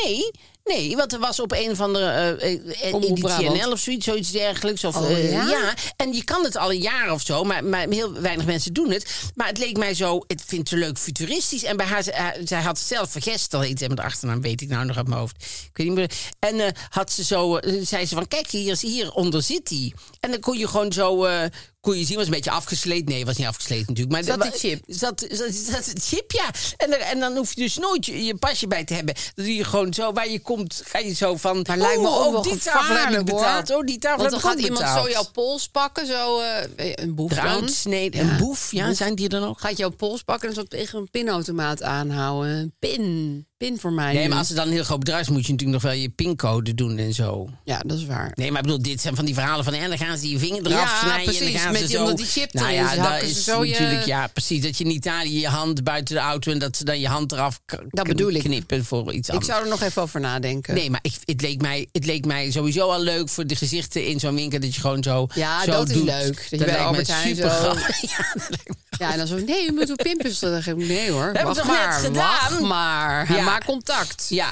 B: Nee, nee. Nee, want er was op een of andere eh, eh
D: Omroep
B: editie
D: Brabant.
B: NL of zoiets, zoiets dergelijks. Of,
C: Oh,
B: eh,
C: ja?
B: en je kan het al een jaar of zo, maar, maar heel weinig mensen doen het. Maar het leek mij zo, ik vind het leuk futuristisch. En bij haar, ze- haar- zij had zelf vergeten al iets en met de achternaam, weet ik nou nog uit mijn hoofd. Ik weet niet meer. En eh, had ze zo, eh, zei ze van, kijk, hier, is- hieronder zit die. En dan kon je gewoon zo, eh, kon je zien, was een beetje afgesleed. Nee, was niet afgesleed natuurlijk. Maar
D: Zat
B: dat
D: die chip?
B: Zat, zat, zat het chip, ja. En, dan- en dan hoef je dus nooit je, je pasje bij te hebben. Dan doe je gewoon zo, waar je komt, ga je zo van...
D: Maar lijkt me
B: "Oeh,
D: ook
B: oh,
D: wel
B: die tafel heb ik
D: gevaarlijk, hoor.
B: betaald. Oh, die tafel
D: Want
B: heb
D: dan
B: ik ook
D: gaat iemand
B: betaald.
D: zo jouw pols pakken, zo eh, een boef dan.
B: Bruidsnee, een boef, ja, zijn die er nog?
D: Gaat jouw pols pakken en zo tegen een pinautomaat aanhouden. Een Pin, pin voor mij.
B: Nee,
D: nu.
B: maar als het dan een heel groot bedrijf is, moet je natuurlijk nog wel je pincode doen en zo.
D: Ja, dat is waar.
B: Nee, maar ik bedoel, dit zijn van die verhalen van... en dan gaan ze je vinger eraf
D: Ja,
B: snijden. en
D: precies,
B: dan gaan
D: met
B: ze
D: die-
B: zo...
D: omdat die chip
B: nou
D: erin
B: ja,
D: is,
B: dat
D: hakken ze
B: is
D: zo je-
B: natuurlijk... Ja, precies, dat je in Italië je hand buiten de auto... en dat ze dan je hand eraf k-
D: Dat bedoel ik.
B: knippen voor iets
D: Ik
B: anders.
D: zou er nog even over nadenken.
B: Nee, maar ik, het, leek mij, het leek mij sowieso al leuk voor de gezichten in zo'n winkel... dat je gewoon zo
D: Ja,
B: zo
D: dat is
B: doet.
D: leuk. Dat je bij
B: lijkt
D: Albert
B: mij
D: Heijn
B: super
D: zo-
B: grappig. [laughs] Ja, dat lijkt me-
D: Ja, en dan zo, nee, u moet uw pinpas. Dan zeg ik, nee hoor,
B: Heb ik
D: wacht
B: toch
D: maar,
B: net
D: wacht
B: gedaan?
D: maar.
B: Ja.
D: Maak contact.
B: ja,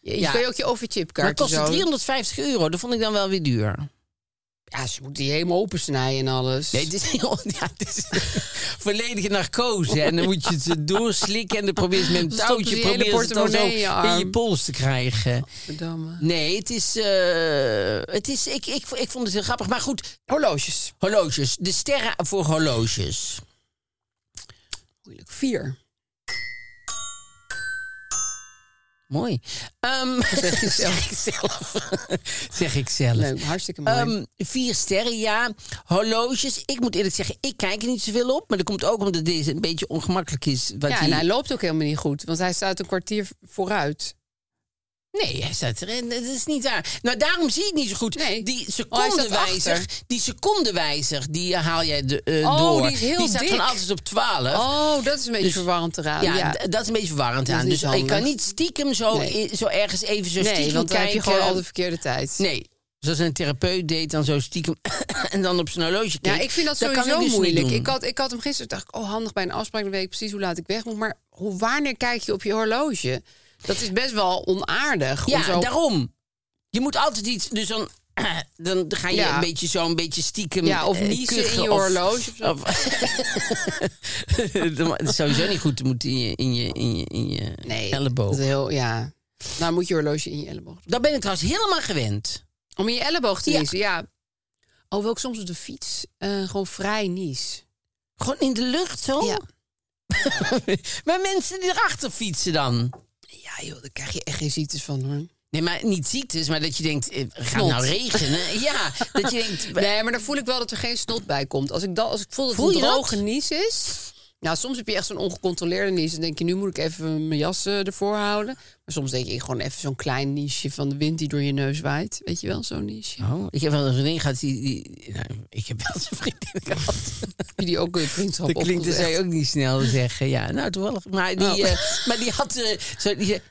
D: Je, je
B: Ja.
D: kan je ook je
B: maar
D: overchipkaart
B: het kostte
D: zo.
B: 350 euro. Dat vond ik dan wel weer duur.
D: Ja, ze moet die helemaal opensnijden en alles.
B: Nee, het is, heel- [laughs] ja, het is volledige narcose. En dan moet je het eh, doorslikken en dan probeer je het met een
D: Dan stoppen
B: touwtje
D: ze je hele
B: probeer je het dan zo
D: portemonnee in je
B: in
D: arm.
B: je pols te krijgen.
D: Verdamme.
B: Nee, het is, eh, het is ik, ik, ik vond het heel grappig. Maar goed,
D: Horloges.
B: horloges. De sterren voor horloges.
D: Moeilijk. Vier.
B: Mooi. Ehm,
D: Zeg ik
B: [laughs]
D: zelf.
B: zeg ik zelf. [laughs] zeg ik zelf.
D: Leuk, hartstikke mooi.
B: Ehm, vier sterren, ja. Horloges. Ik moet eerlijk zeggen, ik kijk er niet zoveel op. Maar dat komt ook omdat deze een beetje ongemakkelijk is. Wat
D: ja, nou,
B: hij-
D: en hij loopt ook helemaal niet goed, want hij staat een kwartier vooruit.
B: Nee, hij staat erin. Dat is niet waar. Nou, daarom zie ik het niet zo goed.
D: Nee.
B: Die
D: Oh, hij staat
B: secondenwijzer,
D: achter.
B: die secondenwijzer, die haal jij de, eh,
D: Oh,
B: door.
D: die is heel
B: staat
D: dik.
B: gewoon altijd op 12.
D: Oh, dat is een beetje
B: Dus-
D: verwarrend eraan.
B: ja,
D: Ja,
B: d- dat is een beetje verwarrend
D: is
B: aan.
D: niet
B: Dus ik
D: handig.
B: kan niet stiekem zo,
D: Nee.
B: i- zo ergens even zo
D: nee,
B: stiekem
D: want
B: dus
D: dan
B: kijken.
D: heb je gewoon al de verkeerde tijd.
B: Nee. Zoals een therapeut deed, dan zo stiekem [coughs] en dan op zijn horloge
D: Ja,
B: kijken.
D: ik vind dat,
B: kan
D: sowieso
B: ik dus niet
D: moeilijk.
B: doen.
D: Ik had, ik had hem gisteren, dacht ik, oh handig bij een afspraak, dan weet ik precies hoe laat ik weg moet. Maar hoe, wanneer kijk je op je horloge? Dat is best wel onaardig. om
B: Ja,
D: zo...
B: daarom. Je moet altijd iets. Dus dan, [coughs] dan ga je
D: Ja.
B: een beetje zo, een beetje stiekem.
D: Ja, of
B: eh,
D: niezen
B: kuchen
D: in je
B: of-
D: horloge of zo.
B: of- [laughs] dat is sowieso niet goed. Dat moet in je, in je, in je, in je
D: nee, dat
B: elleboog.
D: is heel, ja. Nou moet je horloge in je elleboog. doen.
B: Dat ben ik trouwens helemaal gewend.
D: Om in je elleboog te
B: Ja.
D: niezen, ja. Hoewel ik soms op de fiets eh, gewoon vrij nies.
B: Gewoon in de lucht zo.
D: Ja.
B: [laughs] maar mensen die erachter fietsen dan.
D: Ja joh, daar krijg je echt geen ziektes van hoor.
B: Nee, maar niet ziektes, maar dat je denkt, eh, gaat
D: Snot.
B: het nou
D: [laughs]
B: regenen? ja, [laughs] dat je denkt,
D: Nee, maar dan voel ik wel dat er geen snot bij komt. Als ik, dat, als ik voel dat
B: Voel
D: het
B: je
D: een
B: dat?
D: droge nies is... Nou, soms heb je echt zo'n ongecontroleerde nies. Dan denk je, nu moet ik even mijn jas eh, ervoor houden. Maar soms denk ik gewoon even zo'n klein niesje van de wind die door je neus waait. Weet je wel, zo'n niesje.
B: Oh, ik heb wel een vriendin gehad die... die- nou, ik heb wel eens een vriendin
D: [laughs]
B: gehad.
D: Heb je die ook eh, een
B: [laughs]
D: vriendschap
B: Dat klinkt dus
D: opgezegd?
B: zij ook niet snel te zeggen. Ja, nou toevallig. Maar die,
D: Oh.
B: eh, maar die had eh, zo... Die, zei,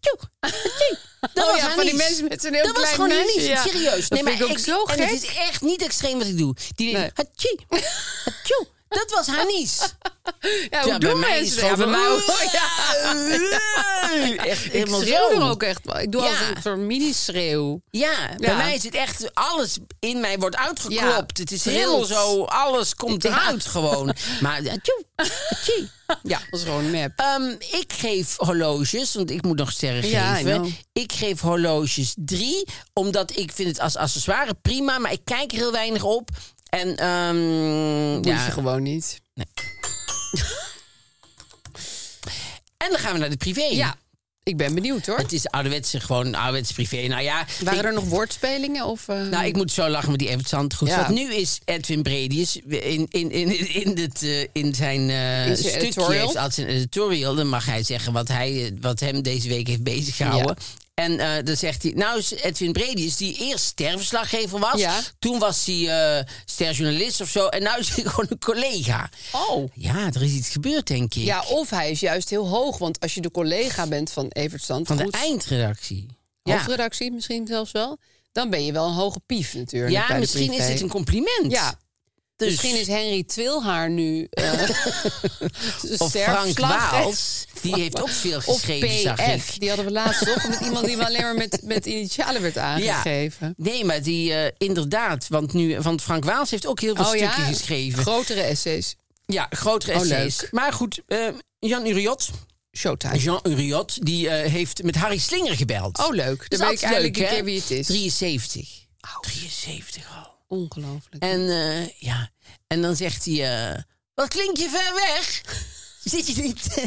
B: "Tjoe, tjoe." dat
D: [laughs] Oh
B: was
D: ja,
B: haar
D: van die
B: nies.
D: mensen met zo'n heel
B: dat
D: klein
B: was gewoon haar
D: niesje,
B: nies,
D: ja.
B: serieus.
D: Dat vind ik ook zo
B: En
D: gek.
B: het is echt niet extreem wat ik doe. Die denkt, "Hatjie, hatjoe." dat was haar nies.
D: Ja, [laughs] hoe
B: Ja,
D: doen
B: bij mij is
D: mensen
B: het
D: dat? Ja, bij
B: gewoon
D: mij
B: van, [laughs]
D: ook. Ja. [laughs]
B: Echt
D: Ik
B: helemaal zo.
D: schreeuw er ook echt wel. Ik doe
B: Ja.
D: altijd een soort mini-schreeuw.
B: Ja, bij
D: Ja.
B: mij is het echt, alles in mij wordt uitgeklopt.
D: Ja,
B: het is
D: trilt.
B: heel zo, alles komt
D: Ja.
B: eruit gewoon. Maar eh,
D: [laughs]
B: tjoe, tjoe. ja.
D: Dat is gewoon nep.
B: Ehm, ik geef horloges, want ik moet nog sterren
D: Ja, I
B: geven.
D: know.
B: Ik geef horloges drie, omdat ik vind het als accessoire prima, maar ik kijk er heel weinig op. En ehm,
D: Moet
B: ja.
D: je gewoon niet.
B: en dan gaan we naar de privé.
D: Ja, ik ben benieuwd hoor.
B: Het is ouderwetse, gewoon ouderwetse privé. Nou ja,
D: Waren
B: ik-
D: er nog woordspelingen? Of, eh,
B: Nou, ik moet zo lachen met die Evert Zandgoed.
D: Ja.
B: Want nu is Edwin Bredius in, in, in, in, dit, eh, in zijn eh
D: In zijn
B: stukje...
D: editorial.
B: Heeft altijd een editorial. Dan mag hij zeggen wat, hij, eh, wat hem deze week heeft bezig gehouden. En eh, dan zegt hij... Nou is Edwin Bredius, die eerst sterverslaggever was.
D: Ja.
B: Toen was hij eh, sterjournalist of zo. En nu is hij [laughs] gewoon een collega.
D: Oh.
B: Ja, er is iets gebeurd, denk ik.
D: Ja, of hij is juist heel hoog. Want als je de collega bent van Evert
B: Van
D: Zandgoed...
B: de eindredactie. Ja.
D: hoofdredactie misschien zelfs wel. Dan ben je wel een hoge pief natuurlijk. bij
B: Ja,
D: de
B: misschien is
D: privé.
B: dit een compliment.
D: Ja,
B: Dus-
D: misschien is Henry Twilhaar nu
B: [laughs]
D: eh
B: Of Frank Waals,
D: Waals.
B: die heeft ook veel
D: Of
B: geschreven, zag
D: PF,
B: ik.
D: die hadden we laatst toch? Met iemand die me alleen maar
B: [laughs]
D: met, met initialen werd aangegeven.
B: Nee, maar die eh, inderdaad, want, nu, want Frank Waals heeft ook heel veel stukken geschreven.
D: Oh grotere essays.
B: ja, grotere
D: Oh,
B: essays.
D: leuk.
B: Maar goed, eh, Jan Uriot,
D: Showtime.
B: Jean Uriot, die eh, heeft met Harry Slinger gebeld.
D: Ah. Oh, leuk.
B: Dat
D: Dan weet
B: is
D: ik
B: altijd
D: eigenlijk
B: leuk,
D: een
B: hè? oh.
D: keer wie het is.
B: 73. 73 al.
D: Ongelooflijk.
B: En eh, ja, en dan zegt hij, eh, wat klink je ver weg? [laughs] Zit je niet? [laughs]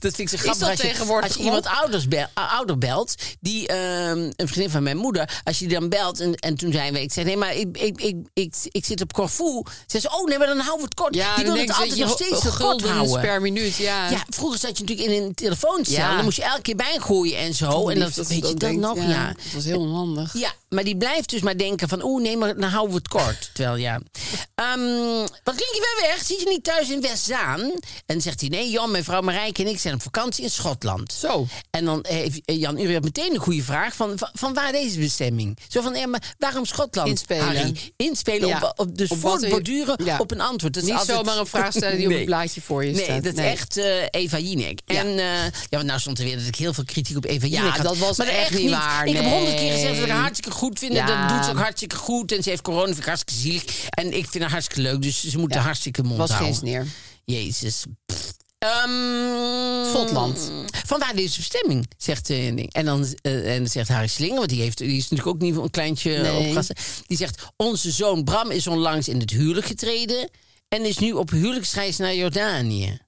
B: dat vind ik zo grappig.
D: dat
B: als je,
D: tegenwoordig
B: als je
D: gewoon?
B: iemand ouders bel- ou- ouder belt, die ehm, een vriendin van mijn moeder, als je die dan belt en, en toen zijn we, ik zei nee, maar ik, ik, ik, ik, ik zit op Corfu. Ze zei, oh nee, maar dan houden we het kort. die wil het
D: denken ze,
B: altijd
D: je
B: nog steeds zo kort
D: guldens
B: houden.
D: per minuut. Ja.
B: Ja, Oh, vroeger zat je natuurlijk in een telefooncel.
D: Ja.
B: Dan moest je elke keer bijgooien en zo. en dat,
D: ze
B: weet je dat
D: denkt.
B: nog? ja.
D: Dat was heel onhandig.
B: Ja, maar die blijft dus maar denken van... oeh, nee, maar dan houden we het
D: [laughs]
B: kort. Terwijl, ja... Ehm, wat klink je wel weg? Zit je niet thuis in Westzaan? En dan zegt hij... nee, Jan, mijn vrouw Marijke en ik zijn op vakantie in Schotland.
D: Zo.
B: En dan eh, heeft Jan Uri meteen een goede vraag van, van, van waar deze bestemming? Zo van, ja, maar waarom Schotland,
D: Inspelen.
B: Harry? Inspelen
D: Ja.
B: op, op, dus
D: Op wat-
B: voortborduren
D: ja.
B: op een antwoord. Dat is
D: Niet
B: altijd-
D: zomaar een vraag stellen die op
B: [laughs] Nee.
D: een blaadje voor je
B: Nee,
D: staat.
B: dat is echt eh, Eva Jinek.
D: Ja.
B: En eh, ja, want nou stond er weer dat ik heel veel kritiek op Eva
D: Ja,
B: Jinek had.
D: dat was
B: maar
D: echt niet waar,
B: Ik heb
D: nee.
B: honderd keer gezegd dat ik haar hartstikke goed vind. En
D: Ja.
B: dat doet ze ook hartstikke goed. En ze heeft corona, vind ik hartstikke zielig. En ik vind haar hartstikke leuk, dus ze moet haar hartstikke mond
D: was geen
B: houden.
D: sneer.
B: [laughs] Jezus. Pff. Ehm,
D: Schotland.
B: Vandaar deze bestemming, zegt eh, Ding. En dan eh, en zegt Harry Slinger, want die, heeft, die is natuurlijk ook niet een kleintje eh,
D: Nee.
B: opgewassen. Die zegt, onze zoon Bram is onlangs in het huwelijk getreden... en is nu op huwelijksreis naar Jordanië.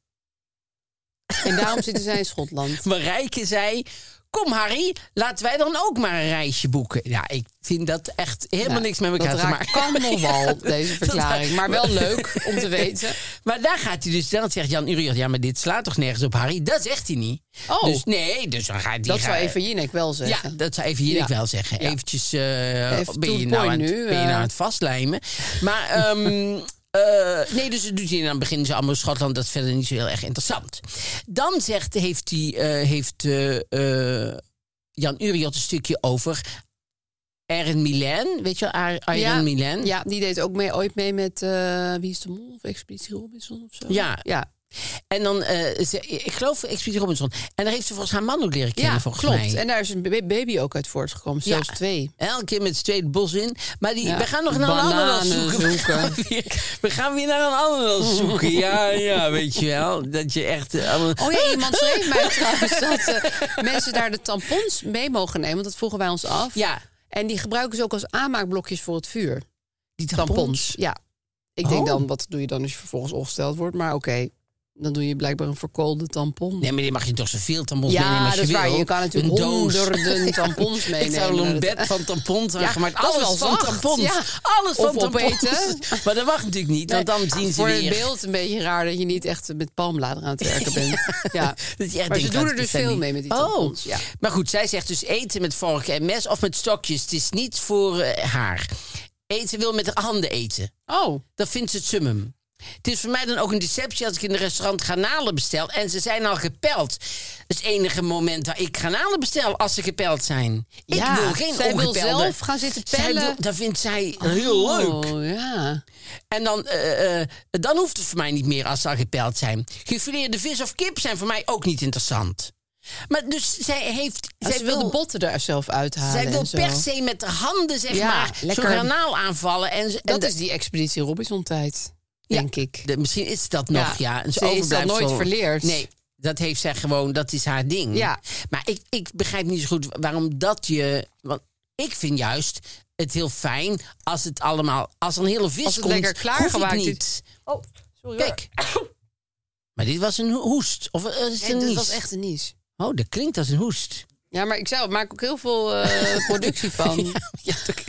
D: En daarom zitten zij in Schotland.
B: Marijke zei... Kom Harry, laten wij dan ook maar een reisje boeken. Ja, ik vind dat echt helemaal
D: Ja,
B: niks met elkaar
D: Nou, dat
B: te
D: raakt
B: maken. [laughs]
D: Kammelwal, deze verklaring. Maar wel leuk om te weten.
B: Maar daar gaat hij dus, dan zegt Jan Uriot... ja, maar dit slaat toch nergens op Harry? Dat zegt hij niet.
D: Oh.
B: Dus nee, dus dan gaat hij...
D: Dat zou even Jinek wel
B: Ja,
D: zeggen.
B: dat zou even hier
D: Ja.
B: ik wel zeggen.
D: Ja.
B: Eventjes, eh,
D: Even to
B: ben, je
D: the
B: nou
D: point
B: aan het,
D: nu,
B: ben je nou
D: eh.
B: aan het vastlijmen? Maar, ehm, [laughs] eh, nee, dus het doet hij en dan beginnen ze allemaal in Schotland. Dat is verder niet zo heel erg interessant. Dan zegt, heeft, die, eh, heeft eh, eh, Jan Uriot een stukje over Aaron Milan. Weet je wel, Ar- Aaron Milan?
D: Ja, die deed ook mee, ooit mee met eh, Wie is de Mol of Expeditie Robinson of zo.
B: Ja.
D: ja.
B: En dan, eh, ze, ik geloof, Expeditie Robinson. En daar heeft ze volgens haar man ook leren kennen,
D: ja
B: volgens
D: klopt.
B: mij.
D: En daar is een ba- baby ook uit voortgekomen, zelfs
B: Ja.
D: twee.
B: Elke keer met z'n tweeën het bos in. Maar die,
D: Ja,
B: we gaan nog naar een
D: bananen
B: ananas zoeken. [laughs] We, gaan weer, we gaan weer naar een ananas zoeken. Ja, ja, weet je wel. Dat je echt... eh, allemaal-
D: Oh
B: [laughs]
D: ja, iemand schreef mij trouwens dat eh, mensen daar de tampons mee mogen nemen. Want dat vroegen wij ons af.
B: Ja,
D: En die gebruiken ze ook als aanmaakblokjes voor het vuur.
B: die
D: Tampons.
B: tampons.
D: Ja. Ik denk
B: Oh.
D: dan, wat doe je dan als je vervolgens opgesteld wordt? Maar oké, dan doe je blijkbaar een verkoolde tampon.
B: Nee, maar die mag je toch zoveel tampons meenemen
D: ja,
B: als
D: dat is
B: je wil.
D: waar. Je kan natuurlijk
B: Een doos. [laughs]
D: honderden tampons meenemen.
B: Ik zou
D: naar
B: een
D: de-
B: bed van tampons
D: Ja,
B: aangemaakt.
D: dat is
B: Alles
D: wel
B: van
D: zacht,
B: tampons.
D: ja.
B: Alles van
D: Of
B: tampons.
D: opeten.
B: Maar dat mag natuurlijk niet, want dan zien ze
D: Voor
B: weer...
D: het beeld een beetje raar dat je niet echt met palmbladeren aan het
B: [laughs]
D: werken bent. Ja.
B: Dat je echt
D: Maar ze
B: denkt,
D: doen
B: wat
D: er
B: is
D: dus
B: dat
D: veel
B: niet?
D: mee met die
B: Oh.
D: tampons. Ja.
B: Maar goed, zij zegt dus eten met vorken en mes of met stokjes. Het is niet voor eh, haar. Eten wil met haar handen eten.
D: Oh,
B: Dat vindt ze het summum. Het is voor mij dan ook een deceptie als ik in een restaurant granalen bestel en ze zijn al gepeld. Dat is het enige moment dat ik granalen bestel als ze gepeld zijn. Ik
D: ja.
B: wil geen
D: Zij wil
B: ongepelde.
D: zelf gaan zitten
B: Zij wil-
D: pellen.
B: dat vindt zij heel leuk.
D: Oh, ja.
B: En dan, eh, eh, dan hoeft het voor mij niet meer als ze al gepeld zijn. Gefileerde vis of kip zijn voor mij ook niet interessant. Maar dus zij heeft...
D: Zij
B: zij
D: ze wil de botten er zelf uithalen.
B: zij wil
D: en zo.
B: per se met de handen, zeg
D: Ja,
B: maar, zo'n
D: lekker.
B: granaal aanvallen. En, en
D: Dat
B: de-
D: is die expeditie Robinson-tijd,
B: Ja.
D: denk ik.
B: de- misschien is dat nog, ja. een
D: ze is dat
B: overblijfsel.
D: nooit verleerd.
B: Nee, dat heeft zij gewoon, dat is haar ding.
D: Ja.
B: Maar ik, ik begrijp niet zo goed waarom dat je... Want ik vind juist het heel fijn als het allemaal... Als er een hele vis
D: Als het
B: komt,
D: lekker klaargemaakt
B: hoef ik
D: is.
B: niet.
D: Oh, sorry.
B: Kijk. [coughs] Maar dit was een ho- hoest. Of eh, is het een
D: dit
B: nies?
D: was echt een nies.
B: Oh, dat klinkt als een hoest. [laughs]
D: Ja, maar ik zelf maak ook heel veel eh, [laughs] productie van.
B: Je hebt ook-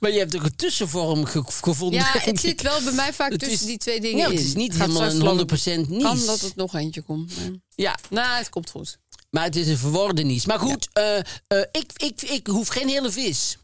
B: maar je hebt ook een tussenvorm ge- gevonden. [laughs]
D: Ja,
B: denk
D: het
B: ik.
D: zit wel bij mij vaak
B: Het
D: tussen
B: is-
D: die twee dingen
B: Ja,
D: in.
B: het is niet
D: Gaat
B: helemaal
D: straks
B: een 100%
D: lang-
B: niets.
D: Kan dat het nog eentje komt. maar-
B: Ja,
D: Nou, het komt goed.
B: maar het is een verworden niets. Maar goed, eh, eh, ik, ik, ik hoef geen hele vis.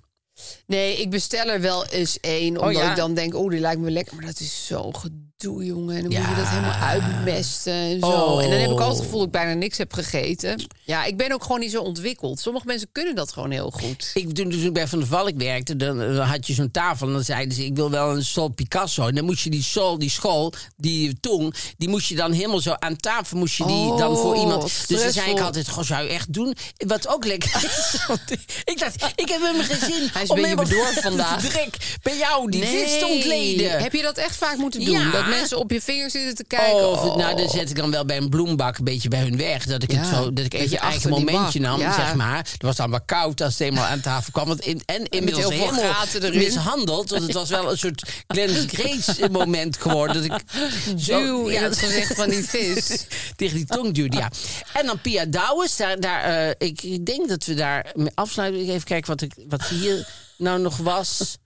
D: Nee, ik "Oh, bestel er wel eens één. Omdat
B: ja.
D: ik dan denk, oh, die lijkt me lekker. Maar dat is zo'n gedoe. gedoe, jongen. En dan
B: Ja.
D: moet je dat helemaal uitmesten en zo.
B: Oh.
D: En dan heb ik altijd het gevoel dat ik bijna niks heb gegeten. Ja, ik ben ook gewoon niet zo ontwikkeld. Sommige mensen kunnen dat gewoon heel goed.
B: Ik, toen, toen ik bij Van der Valk werkte, dan, dan had je zo'n tafel en dan zeiden ze: Ik wil wel een sol Picasso. En dan moest je die sol, die school, die tong, die moest je dan helemaal zo aan tafel, moest je die
D: Oh,
B: dan voor iemand. Dus dan zei
D: stressvol.
B: ik altijd: Goh, zou je echt doen? Wat ook lekker
D: [laughs]
B: is. Want ik dacht: Ik heb helemaal geen zin.
D: Hij is
B: om
D: een beetje
B: helemaal [laughs]
D: bedorven vandaag.
B: te drek bij jou, die zit te ontleden.
D: Heb je dat echt vaak moeten doen?
B: Ja.
D: Dat mensen op je vingers zitten te kijken.
B: Oh, of- nou, dan zet ik dan wel bij een bloembak een beetje bij hun weg. Dat ik, het
D: Ja,
B: zo, dat ik even
D: beetje
B: een eigen
D: achter die
B: momentje
D: bak,
B: nam,
D: ja.
B: zeg maar. Het was dan wel koud als het eenmaal aan tafel kwam. Want in, en inmiddels
D: heel veel
B: helemaal
D: gaten erin.
B: mishandeld. Want het was wel een soort Glennis Grace moment geworden. Dat ik
D: [laughs]
B: zo-
D: Duw in het gezicht van die vis.
B: [laughs] tegen die tong duwde, ja. En dan Pia Douwens, daar, daar, eh, ik, ik denk dat we daar mee afsluiten. Even kijken wat, ik, wat hier nou nog was.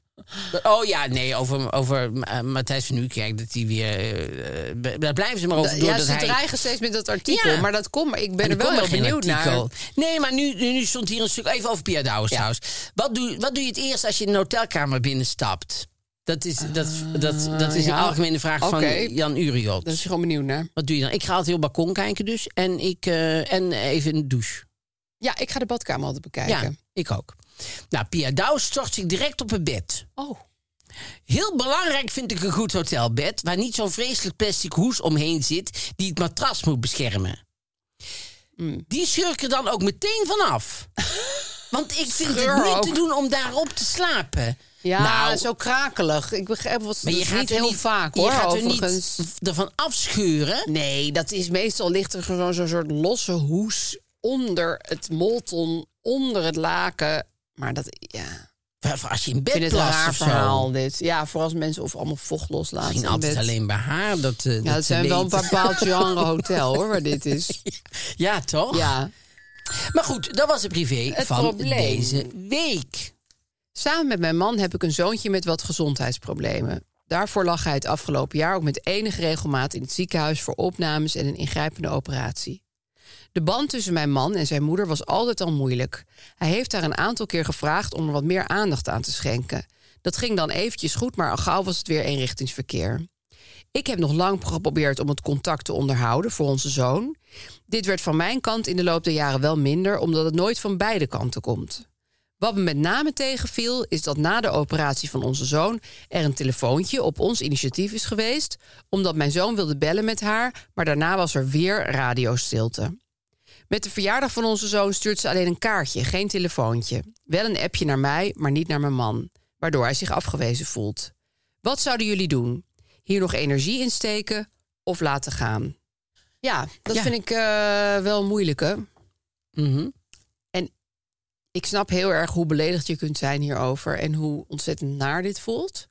B: Oh ja, nee, over, over eh, Matthijs van Nieuwkerk, dat hij weer... eh, eh, daar blijven ze maar over door
D: ja,
B: dat
D: ze
B: hij...
D: dreigen steeds met dat artikel.
B: Ja.
D: Maar dat komt. Ik ben
B: En
D: er wel
B: komt
D: heel
B: maar geen
D: benieuwd
B: artikel.
D: naar.
B: Nee, maar nu, nu, nu stond hier een stuk... Even over Pia Douwens trouwens. Wat doe, wat doe je het eerst als je in een hotelkamer binnenstapt? Dat is, dat, dat, dat is
D: Ah, ja.
B: een algemene vraag
D: Oké.
B: van Jan Uriot.
D: Daar is je gewoon benieuwd naar.
B: Wat doe je dan? Ik ga altijd heel balkon kijken dus. En, ik, eh, en even een douche.
D: Ja, ik ga de badkamer altijd bekijken.
B: Ja, ik ook. Nou, Pia Douws stort zich direct op het bed.
D: Oh.
B: Heel belangrijk vind ik een goed hotelbed... waar niet zo'n vreselijk plastic hoes omheen zit... die het matras moet beschermen.
D: Mm.
B: Die scheur ik er dan ook meteen
D: [laughs]
B: vanaf. Want ik vind
D: Scheur
B: het niet
D: ook.
B: te doen om daarop te slapen.
D: Ja,
B: Nou,
D: zo krakelig. Ik begrijp wat ze
B: maar je
D: dus
B: gaat
D: niet
B: er
D: heel
B: niet-
D: vaak
B: je
D: hoor.
B: gaat er
D: overigens.
B: niet ervan afscheuren.
D: Nee, dat is meestal ligt er gewoon zo'n soort losse hoes onder het molton, onder het laken. Maar dat, ja,
B: Of Als je in
D: ik vind
B: bed
D: het een
B: plast
D: raar
B: of zo.
D: verhaal dit. Ja, vooral als mensen of allemaal vocht loslaten.
B: Misschien
D: in
B: altijd
D: bed.
B: alleen bij haar. Dat, eh, dat
D: Ja,
B: ze
D: het zijn wel een
B: weten.
D: bepaald genre hotel hoor, waar dit is.
B: [laughs] Ja, toch?
D: Ja.
B: Maar goed, dat was het privé
D: Het
B: van
D: probleem.
B: deze week.
D: Samen met mijn man heb ik een zoontje met wat gezondheidsproblemen. Daarvoor lag hij het afgelopen jaar ook met enige regelmaat in het ziekenhuis voor opnames en een ingrijpende operatie. De band tussen mijn man en zijn moeder was altijd al moeilijk. Hij heeft haar een aantal keer gevraagd om er wat meer aandacht aan te schenken. Dat ging dan eventjes goed, maar al gauw was het weer eenrichtingsverkeer. Ik heb nog lang geprobeerd om het contact te onderhouden voor onze zoon. Dit werd van mijn kant in de loop der jaren wel minder, omdat het nooit van beide kanten komt. Wat me met name tegenviel is dat na de operatie van onze zoon er een telefoontje op ons initiatief is geweest, omdat mijn zoon wilde bellen met haar, maar daarna was er weer radiostilte. Met de verjaardag van onze zoon stuurt ze alleen een kaartje, geen telefoontje. Wel een appje naar mij, maar niet naar mijn man, waardoor hij zich afgewezen voelt. Wat zouden jullie doen? Hier nog energie in steken of laten gaan? Ja, dat
B: Ja.
D: vind ik eh, wel moeilijk, hè?
B: Mhm.
D: ik snap heel erg hoe beledigd je kunt zijn hierover en hoe ontzettend naar dit voelt.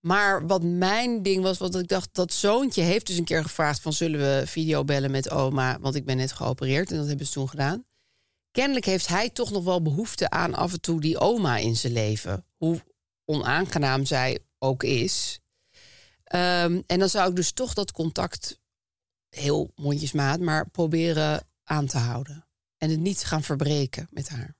D: Maar wat mijn ding was, wat ik dacht, dat zoontje heeft dus een keer gevraagd van zullen we videobellen met oma, want ik ben net geopereerd en dat hebben ze toen gedaan. Kennelijk heeft hij toch nog wel behoefte aan af en toe die oma in zijn leven, hoe onaangenaam zij ook is. Ehm, en dan zou ik dus toch dat contact heel mondjesmaat, maar proberen aan te houden en het niet gaan verbreken met haar.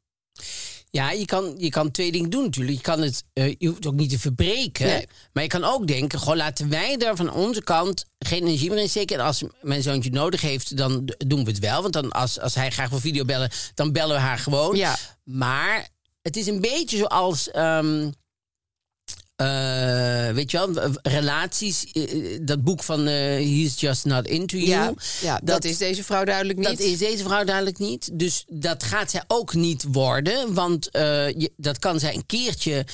B: Ja, je kan, je kan twee dingen doen natuurlijk. Je, kan het, eh, je hoeft het ook niet te verbreken.
D: Nee.
B: Maar je kan ook denken, goh, laten wij daar van onze kant geen energie meer in steken. En als mijn zoontje het nodig heeft, dan d- doen we het wel. Want dan, als, als hij graag wil videobellen, dan bellen we haar gewoon.
D: Ja.
B: Maar het is een beetje zoals... ehm, eh, weet je wel, w- relaties. eh, eh, dat boek van eh, He's Just Not Into You.
D: Ja, ja dat, is deze vrouw duidelijk niet.
B: Dat is deze vrouw duidelijk niet. Dus dat gaat zij ook niet worden. Want eh, je- dat kan zij een keertje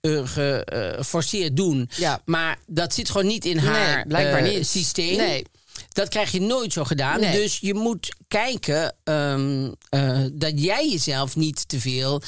B: eh, geforceerd doen.
D: Ja.
B: Maar dat zit gewoon niet in
D: Nee,
B: haar
D: blijkbaar
B: eh,
D: niet.
B: systeem.
D: Nee.
B: Dat krijg je nooit zo gedaan.
D: Nee.
B: Dus je moet kijken ehm, eh, dat jij jezelf niet te veel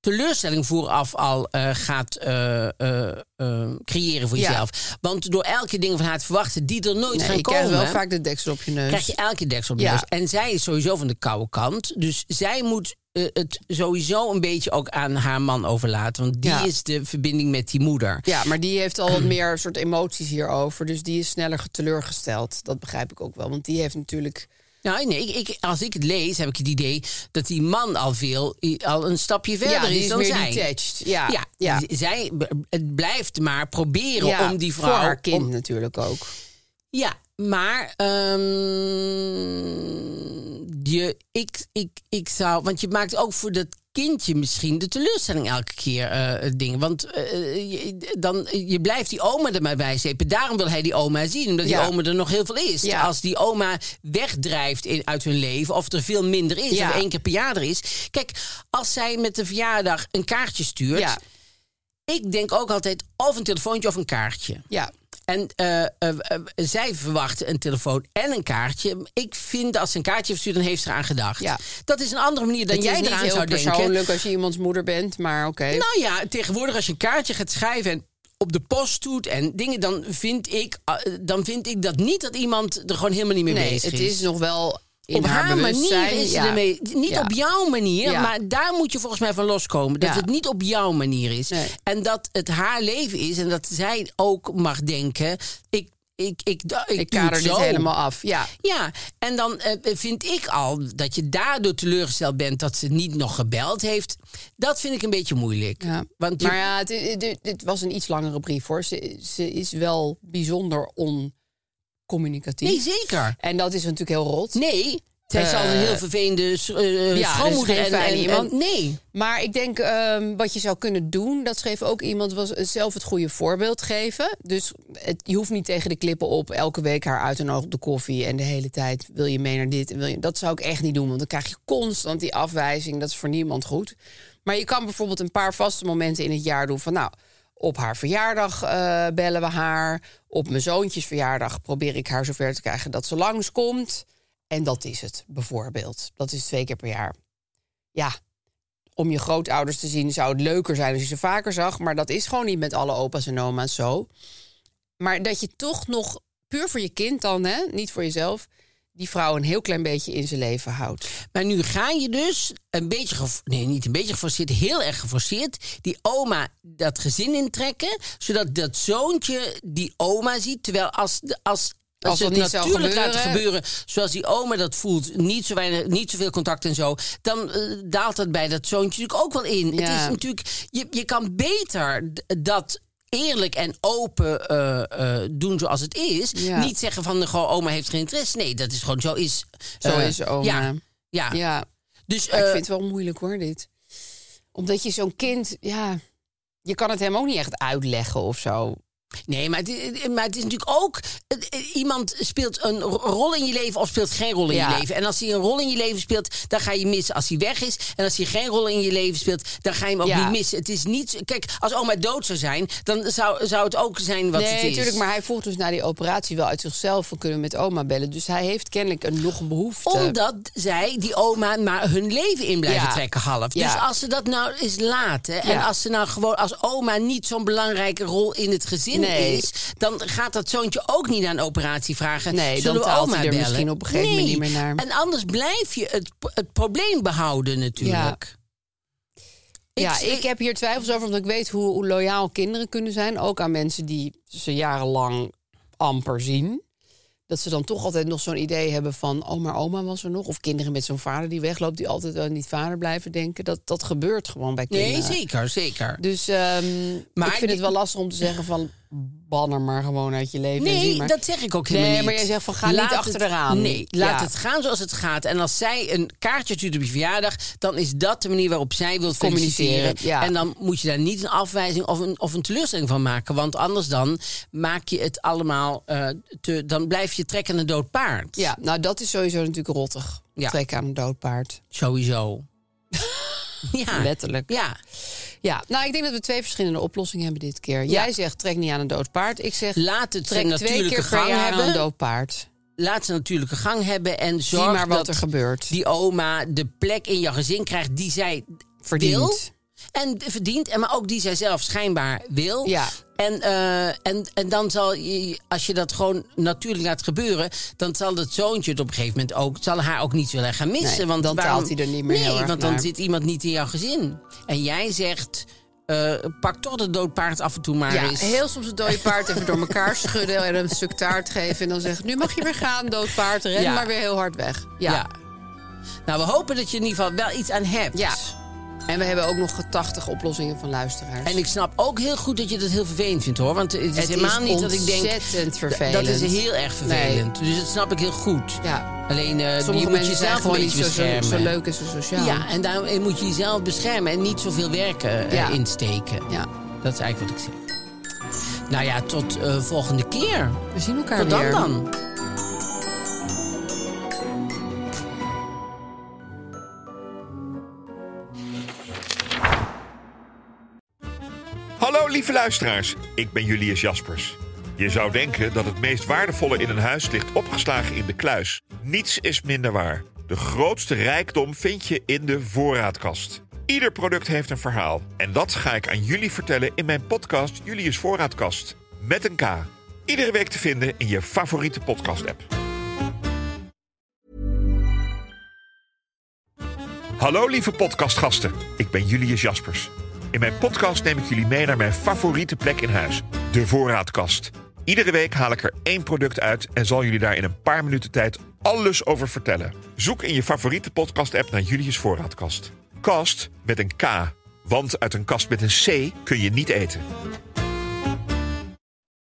B: teleurstelling vooraf al eh, gaat eh, eh, eh, creëren voor
D: Ja.
B: jezelf. Want door elke ding van haar te verwachten die er nooit
D: Nee,
B: gaan
D: je
B: komen
D: krijgt wel vaak de deksel op je neus.
B: krijg je elke deksel op de
D: Ja.
B: neus. En zij is sowieso van de koude kant. Dus zij moet eh, het sowieso een beetje ook aan haar man overlaten. Want die
D: Ja.
B: is de verbinding met die moeder.
D: Ja, maar die heeft al wat meer soort emoties hierover. Dus die is sneller teleurgesteld. Dat begrijp ik ook wel. Want die heeft natuurlijk
B: Nou, nee, ik, ik- als ik het lees, heb ik het idee dat die man al veel, al een stapje verder
D: ja, die
B: is,
D: is
B: dan
D: meer
B: zij.
D: detached. Ja,
B: Ja,
D: ja.
B: z- zij b- het blijft maar proberen
D: Ja,
B: om die
D: voor
B: vrouw...
D: haar kind
B: om-
D: natuurlijk ook.
B: ja, maar ehm, je, ik, ik, ik zou... Want je maakt ook voor dat kindje misschien de teleurstelling elke keer eh dingen. Want eh, je, dan, je blijft die oma er maar bij zeepen. Daarom wil hij die oma zien, omdat
D: Ja.
B: die oma er nog heel veel is.
D: Ja.
B: Als die oma wegdrijft in, uit hun leven, of er veel minder is,
D: Ja.
B: of één keer per jaar er is. Kijk, als zij met de verjaardag een kaartje stuurt...
D: Ja,
B: Ik denk ook altijd of een telefoontje of een kaartje.
D: ja.
B: En eh, eh, eh, zij verwachten een telefoon en een kaartje. Ik vind dat als ze een kaartje heeft verstuurd, dan heeft ze eraan gedacht.
D: Ja.
B: Dat is een andere manier dan
D: Het
B: jij
D: is niet
B: eraan
D: heel
B: zou
D: persoonlijk
B: denken.
D: als je iemands moeder bent, maar oké.
B: Nou ja, tegenwoordig als je een kaartje gaat schrijven en op de post doet en dingen, dan vind ik, ah, eh, dan vind ik dat niet dat iemand er gewoon helemaal niet mee
D: nee,
B: bezig
D: het
B: is.
D: is nog wel in
B: op haar, manier
D: bewustzijn,
B: is
D: ja.
B: ze ermee. Niet
D: Ja.
B: op jouw manier,
D: Ja.
B: maar daar moet je volgens mij van loskomen. Dat
D: Ja.
B: het niet op jouw manier is.
D: Nee.
B: En dat het haar leven is en dat zij ook mag denken: ik, ik, ik, ik, ik,
D: Ik
B: doe het
D: kader dit
B: zo.
D: helemaal af. Ja,
B: Ja, en dan eh, vind ik al dat je daardoor teleurgesteld bent dat ze niet nog gebeld heeft. Dat vind ik een beetje moeilijk.
D: Ja.
B: Want je-
D: maar ja, het, het- het- het was een iets langere brief hoor. Ze, ze is wel bijzonder oncommunicatief.
B: nee, zeker.
D: en dat is natuurlijk heel rot.
B: Nee, zij
D: Eh,
B: zal een heel vervelende s- eh,
D: ja,
B: schoonmoeder
D: dus geen
B: en,
D: fijne
B: en-
D: iemand.
B: en- Nee.
D: Maar ik denk ehm, wat je zou kunnen doen, dat schreef ook iemand, was zelf het goede voorbeeld geven. Dus het, je hoeft niet tegen de klippen op elke week haar uit en oog de koffie. En de hele tijd wil je mee naar dit. En wil je, dat zou ik echt niet doen, want dan krijg je constant die afwijzing. Dat is voor niemand goed. Maar je kan bijvoorbeeld een paar vaste momenten in het jaar doen van nou. Op haar verjaardag eh, bellen we haar. Op mijn zoontjes verjaardag probeer ik haar zover te krijgen dat ze langskomt. En dat is het, bijvoorbeeld. Dat is twee keer per jaar. Ja, om je grootouders te zien zou het leuker zijn als je ze vaker zag. Maar dat is gewoon niet met alle opa's en oma's zo. Maar dat je toch nog puur voor je kind dan, hè, niet voor jezelf, die vrouw een heel klein beetje in zijn leven houdt.
B: Maar nu ga je dus een beetje, gev- nee, niet een beetje geforceerd, heel erg geforceerd, die oma dat gezin intrekken, zodat dat zoontje die oma ziet. Terwijl als, de- als, als,
D: Als
B: ze het
D: dat niet zou
B: natuurlijk laat
D: gebeuren.
B: gebeuren, zoals die oma dat voelt, niet, zo weinig, niet zoveel contact en zo, dan eh, daalt dat bij dat zoontje natuurlijk ook wel in. Het
D: Ja.
B: is natuurlijk, je, je kan beter d- dat. Eerlijk en open eh, eh, doen zoals het is.
D: Ja.
B: Niet zeggen van, nou, gewoon, oma heeft geen interesse. Nee, dat is gewoon zo is.
D: Zo
B: eh,
D: is oma.
B: Ja, ja.
D: Ja,
B: Dus
D: ik
B: eh,
D: vind het wel moeilijk hoor, dit. Omdat je zo'n kind, ja, je kan het hem ook niet echt uitleggen of zo.
B: Nee, maar het, i- maar het is natuurlijk ook... het- i- Iemand speelt een ro- rol in je leven of speelt geen rol in
D: Ja.
B: je leven. En als hij een rol in je leven speelt, dan ga je missen als hij weg is. En als hij geen rol in je leven speelt, dan ga je hem ook
D: Ja.
B: niet missen. Het is niet... zo- Kijk, als oma dood zou zijn, dan zou, zou het ook zijn wat
D: nee,
B: het is.
D: natuurlijk, maar hij voelt dus na die operatie wel uit zichzelf van kunnen we met oma bellen. Dus hij heeft kennelijk een nog een behoefte.
B: Omdat zij, die oma, maar hun leven in blijven
D: Eh, Ja.
B: trekken half. Dus
D: Ja.
B: als ze dat nou eens laten... en
D: Ja.
B: als ze nou gewoon als oma niet zo'n belangrijke rol in het gezin
D: Nee.
B: is... dan gaat dat zoontje ook niet aan een operatie vragen.
D: Nee, dan
B: Zullen we
D: taalt
B: oma
D: hij er
B: bellen?
D: misschien op een gegeven
B: Nee.
D: moment niet meer naar.
B: En anders blijf je het, het probleem behouden natuurlijk.
D: ja,
B: ik-
D: ik heb hier twijfels over, omdat ik weet hoe, hoe loyaal kinderen kunnen zijn. Ook aan mensen die ze jarenlang amper zien. Dat ze dan toch altijd nog zo'n idee hebben van... oh, maar oma was er nog. Of kinderen met zo'n vader die wegloopt... die altijd aan die vader blijven denken. Dat, dat gebeurt gewoon bij
B: Nee,
D: kinderen.
B: zeker, zeker.
D: Dus ehm,
B: Maar
D: ik vind
B: die-
D: het wel lastig om te zeggen van... ban er maar gewoon uit je leven. en
B: Nee,
D: zie maar.
B: dat zeg ik ook
D: Nee,
B: helemaal niet.
D: maar jij zegt van, ga niet achter
B: het,
D: eraan.
B: Nee, laat
D: Ja.
B: het gaan zoals het gaat. En als zij een kaartje stuurt op je verjaardag... dan is dat de manier waarop zij wil communiceren.
D: Communiceren, ja.
B: En dan moet je daar niet een afwijzing of een, of een teleurstelling van maken. Want anders dan maak je het allemaal... eh, te, dan blijf je trekken aan een dood paard.
D: Ja, nou dat is sowieso natuurlijk rottig.
B: Ja.
D: Trek aan een dood paard. [laughs]
B: Sowieso. ja.
D: Letterlijk.
B: Ja.
D: Ja, nou ik denk dat we twee verschillende oplossingen hebben dit keer. Jij zegt trek niet aan een dood paard. Ik zeg
B: Laat het zijn
D: trek twee
B: natuurlijke
D: keer per
B: gang
D: jaar aan
B: hebben.
D: een dood paard.
B: Laat ze natuurlijke gang hebben. En
D: Zie
B: zorg
D: maar wat
B: dat
D: er gebeurt.
B: die oma de plek in jouw gezin krijgt die zij
D: Verdient.
B: wil. En verdient, en maar ook die zij zelf schijnbaar wil.
D: Ja.
B: En, eh, en, en dan zal, je, als je dat gewoon natuurlijk laat gebeuren... dan zal dat zoontje het op een gegeven moment ook... zal haar ook niet willen gaan missen.
D: Nee,
B: want
D: dan
B: waarom-
D: taalt hij er niet meer
B: Nee,
D: heel erg
B: want dan
D: naar.
B: zit iemand niet in jouw gezin. En jij zegt, eh, pak toch dat doodpaard af en toe maar
D: Ja,
B: eens.
D: heel soms het dode paard even door elkaar schudden en een stuk taart geven. En dan zeggen, nu mag je weer gaan, dood paard. Ren
B: Ja.
D: maar weer heel hard weg.
B: Ja.
D: Ja.
B: Nou, we hopen dat je in ieder geval wel iets aan hebt.
D: Ja. En we hebben ook nog 80 oplossingen van luisteraars.
B: En ik snap ook heel goed dat je dat heel vervelend vindt, hoor. Want het is
D: Het
B: helemaal niet dat ik denk...
D: ontzettend
B: d-
D: vervelend.
B: Dat is heel erg vervelend. Dus dat snap ik heel goed.
D: Ja.
B: Alleen, eh je
D: Sommige
B: moet
D: mensen zijn
B: jezelf een
D: gewoon niet
B: beetje
D: zo, zo,
B: beschermen.
D: zo leuk en zo sociaal.
B: Ja, en daarom moet je jezelf beschermen en niet zoveel werken eh,
D: Ja.
B: insteken.
D: Ja.
B: Dat is eigenlijk wat ik zeg. Nou ja, tot eh, volgende keer.
D: We zien elkaar
B: Tot dan
D: weer.
B: dan.
E: Hallo lieve luisteraars, ik ben Julius Jaspers. Je zou denken dat het meest waardevolle in een huis ligt opgeslagen in de kluis. Niets is minder waar. De grootste rijkdom vind je in de voorraadkast. Ieder product heeft een verhaal. En dat ga ik aan jullie vertellen in mijn podcast Julius Voorraadkast. Met een K. Iedere week te vinden in je favoriete podcast-app. Hallo lieve podcastgasten, ik ben Julius Jaspers. In mijn podcast neem ik jullie mee naar mijn favoriete plek in huis, de voorraadkast. Iedere week haal ik er één product uit en zal jullie daar in een paar minuten tijd alles over vertellen. Zoek in je favoriete podcast-app naar Julius Voorraadkast. Kast met een K, want uit een kast met een C kun je niet eten.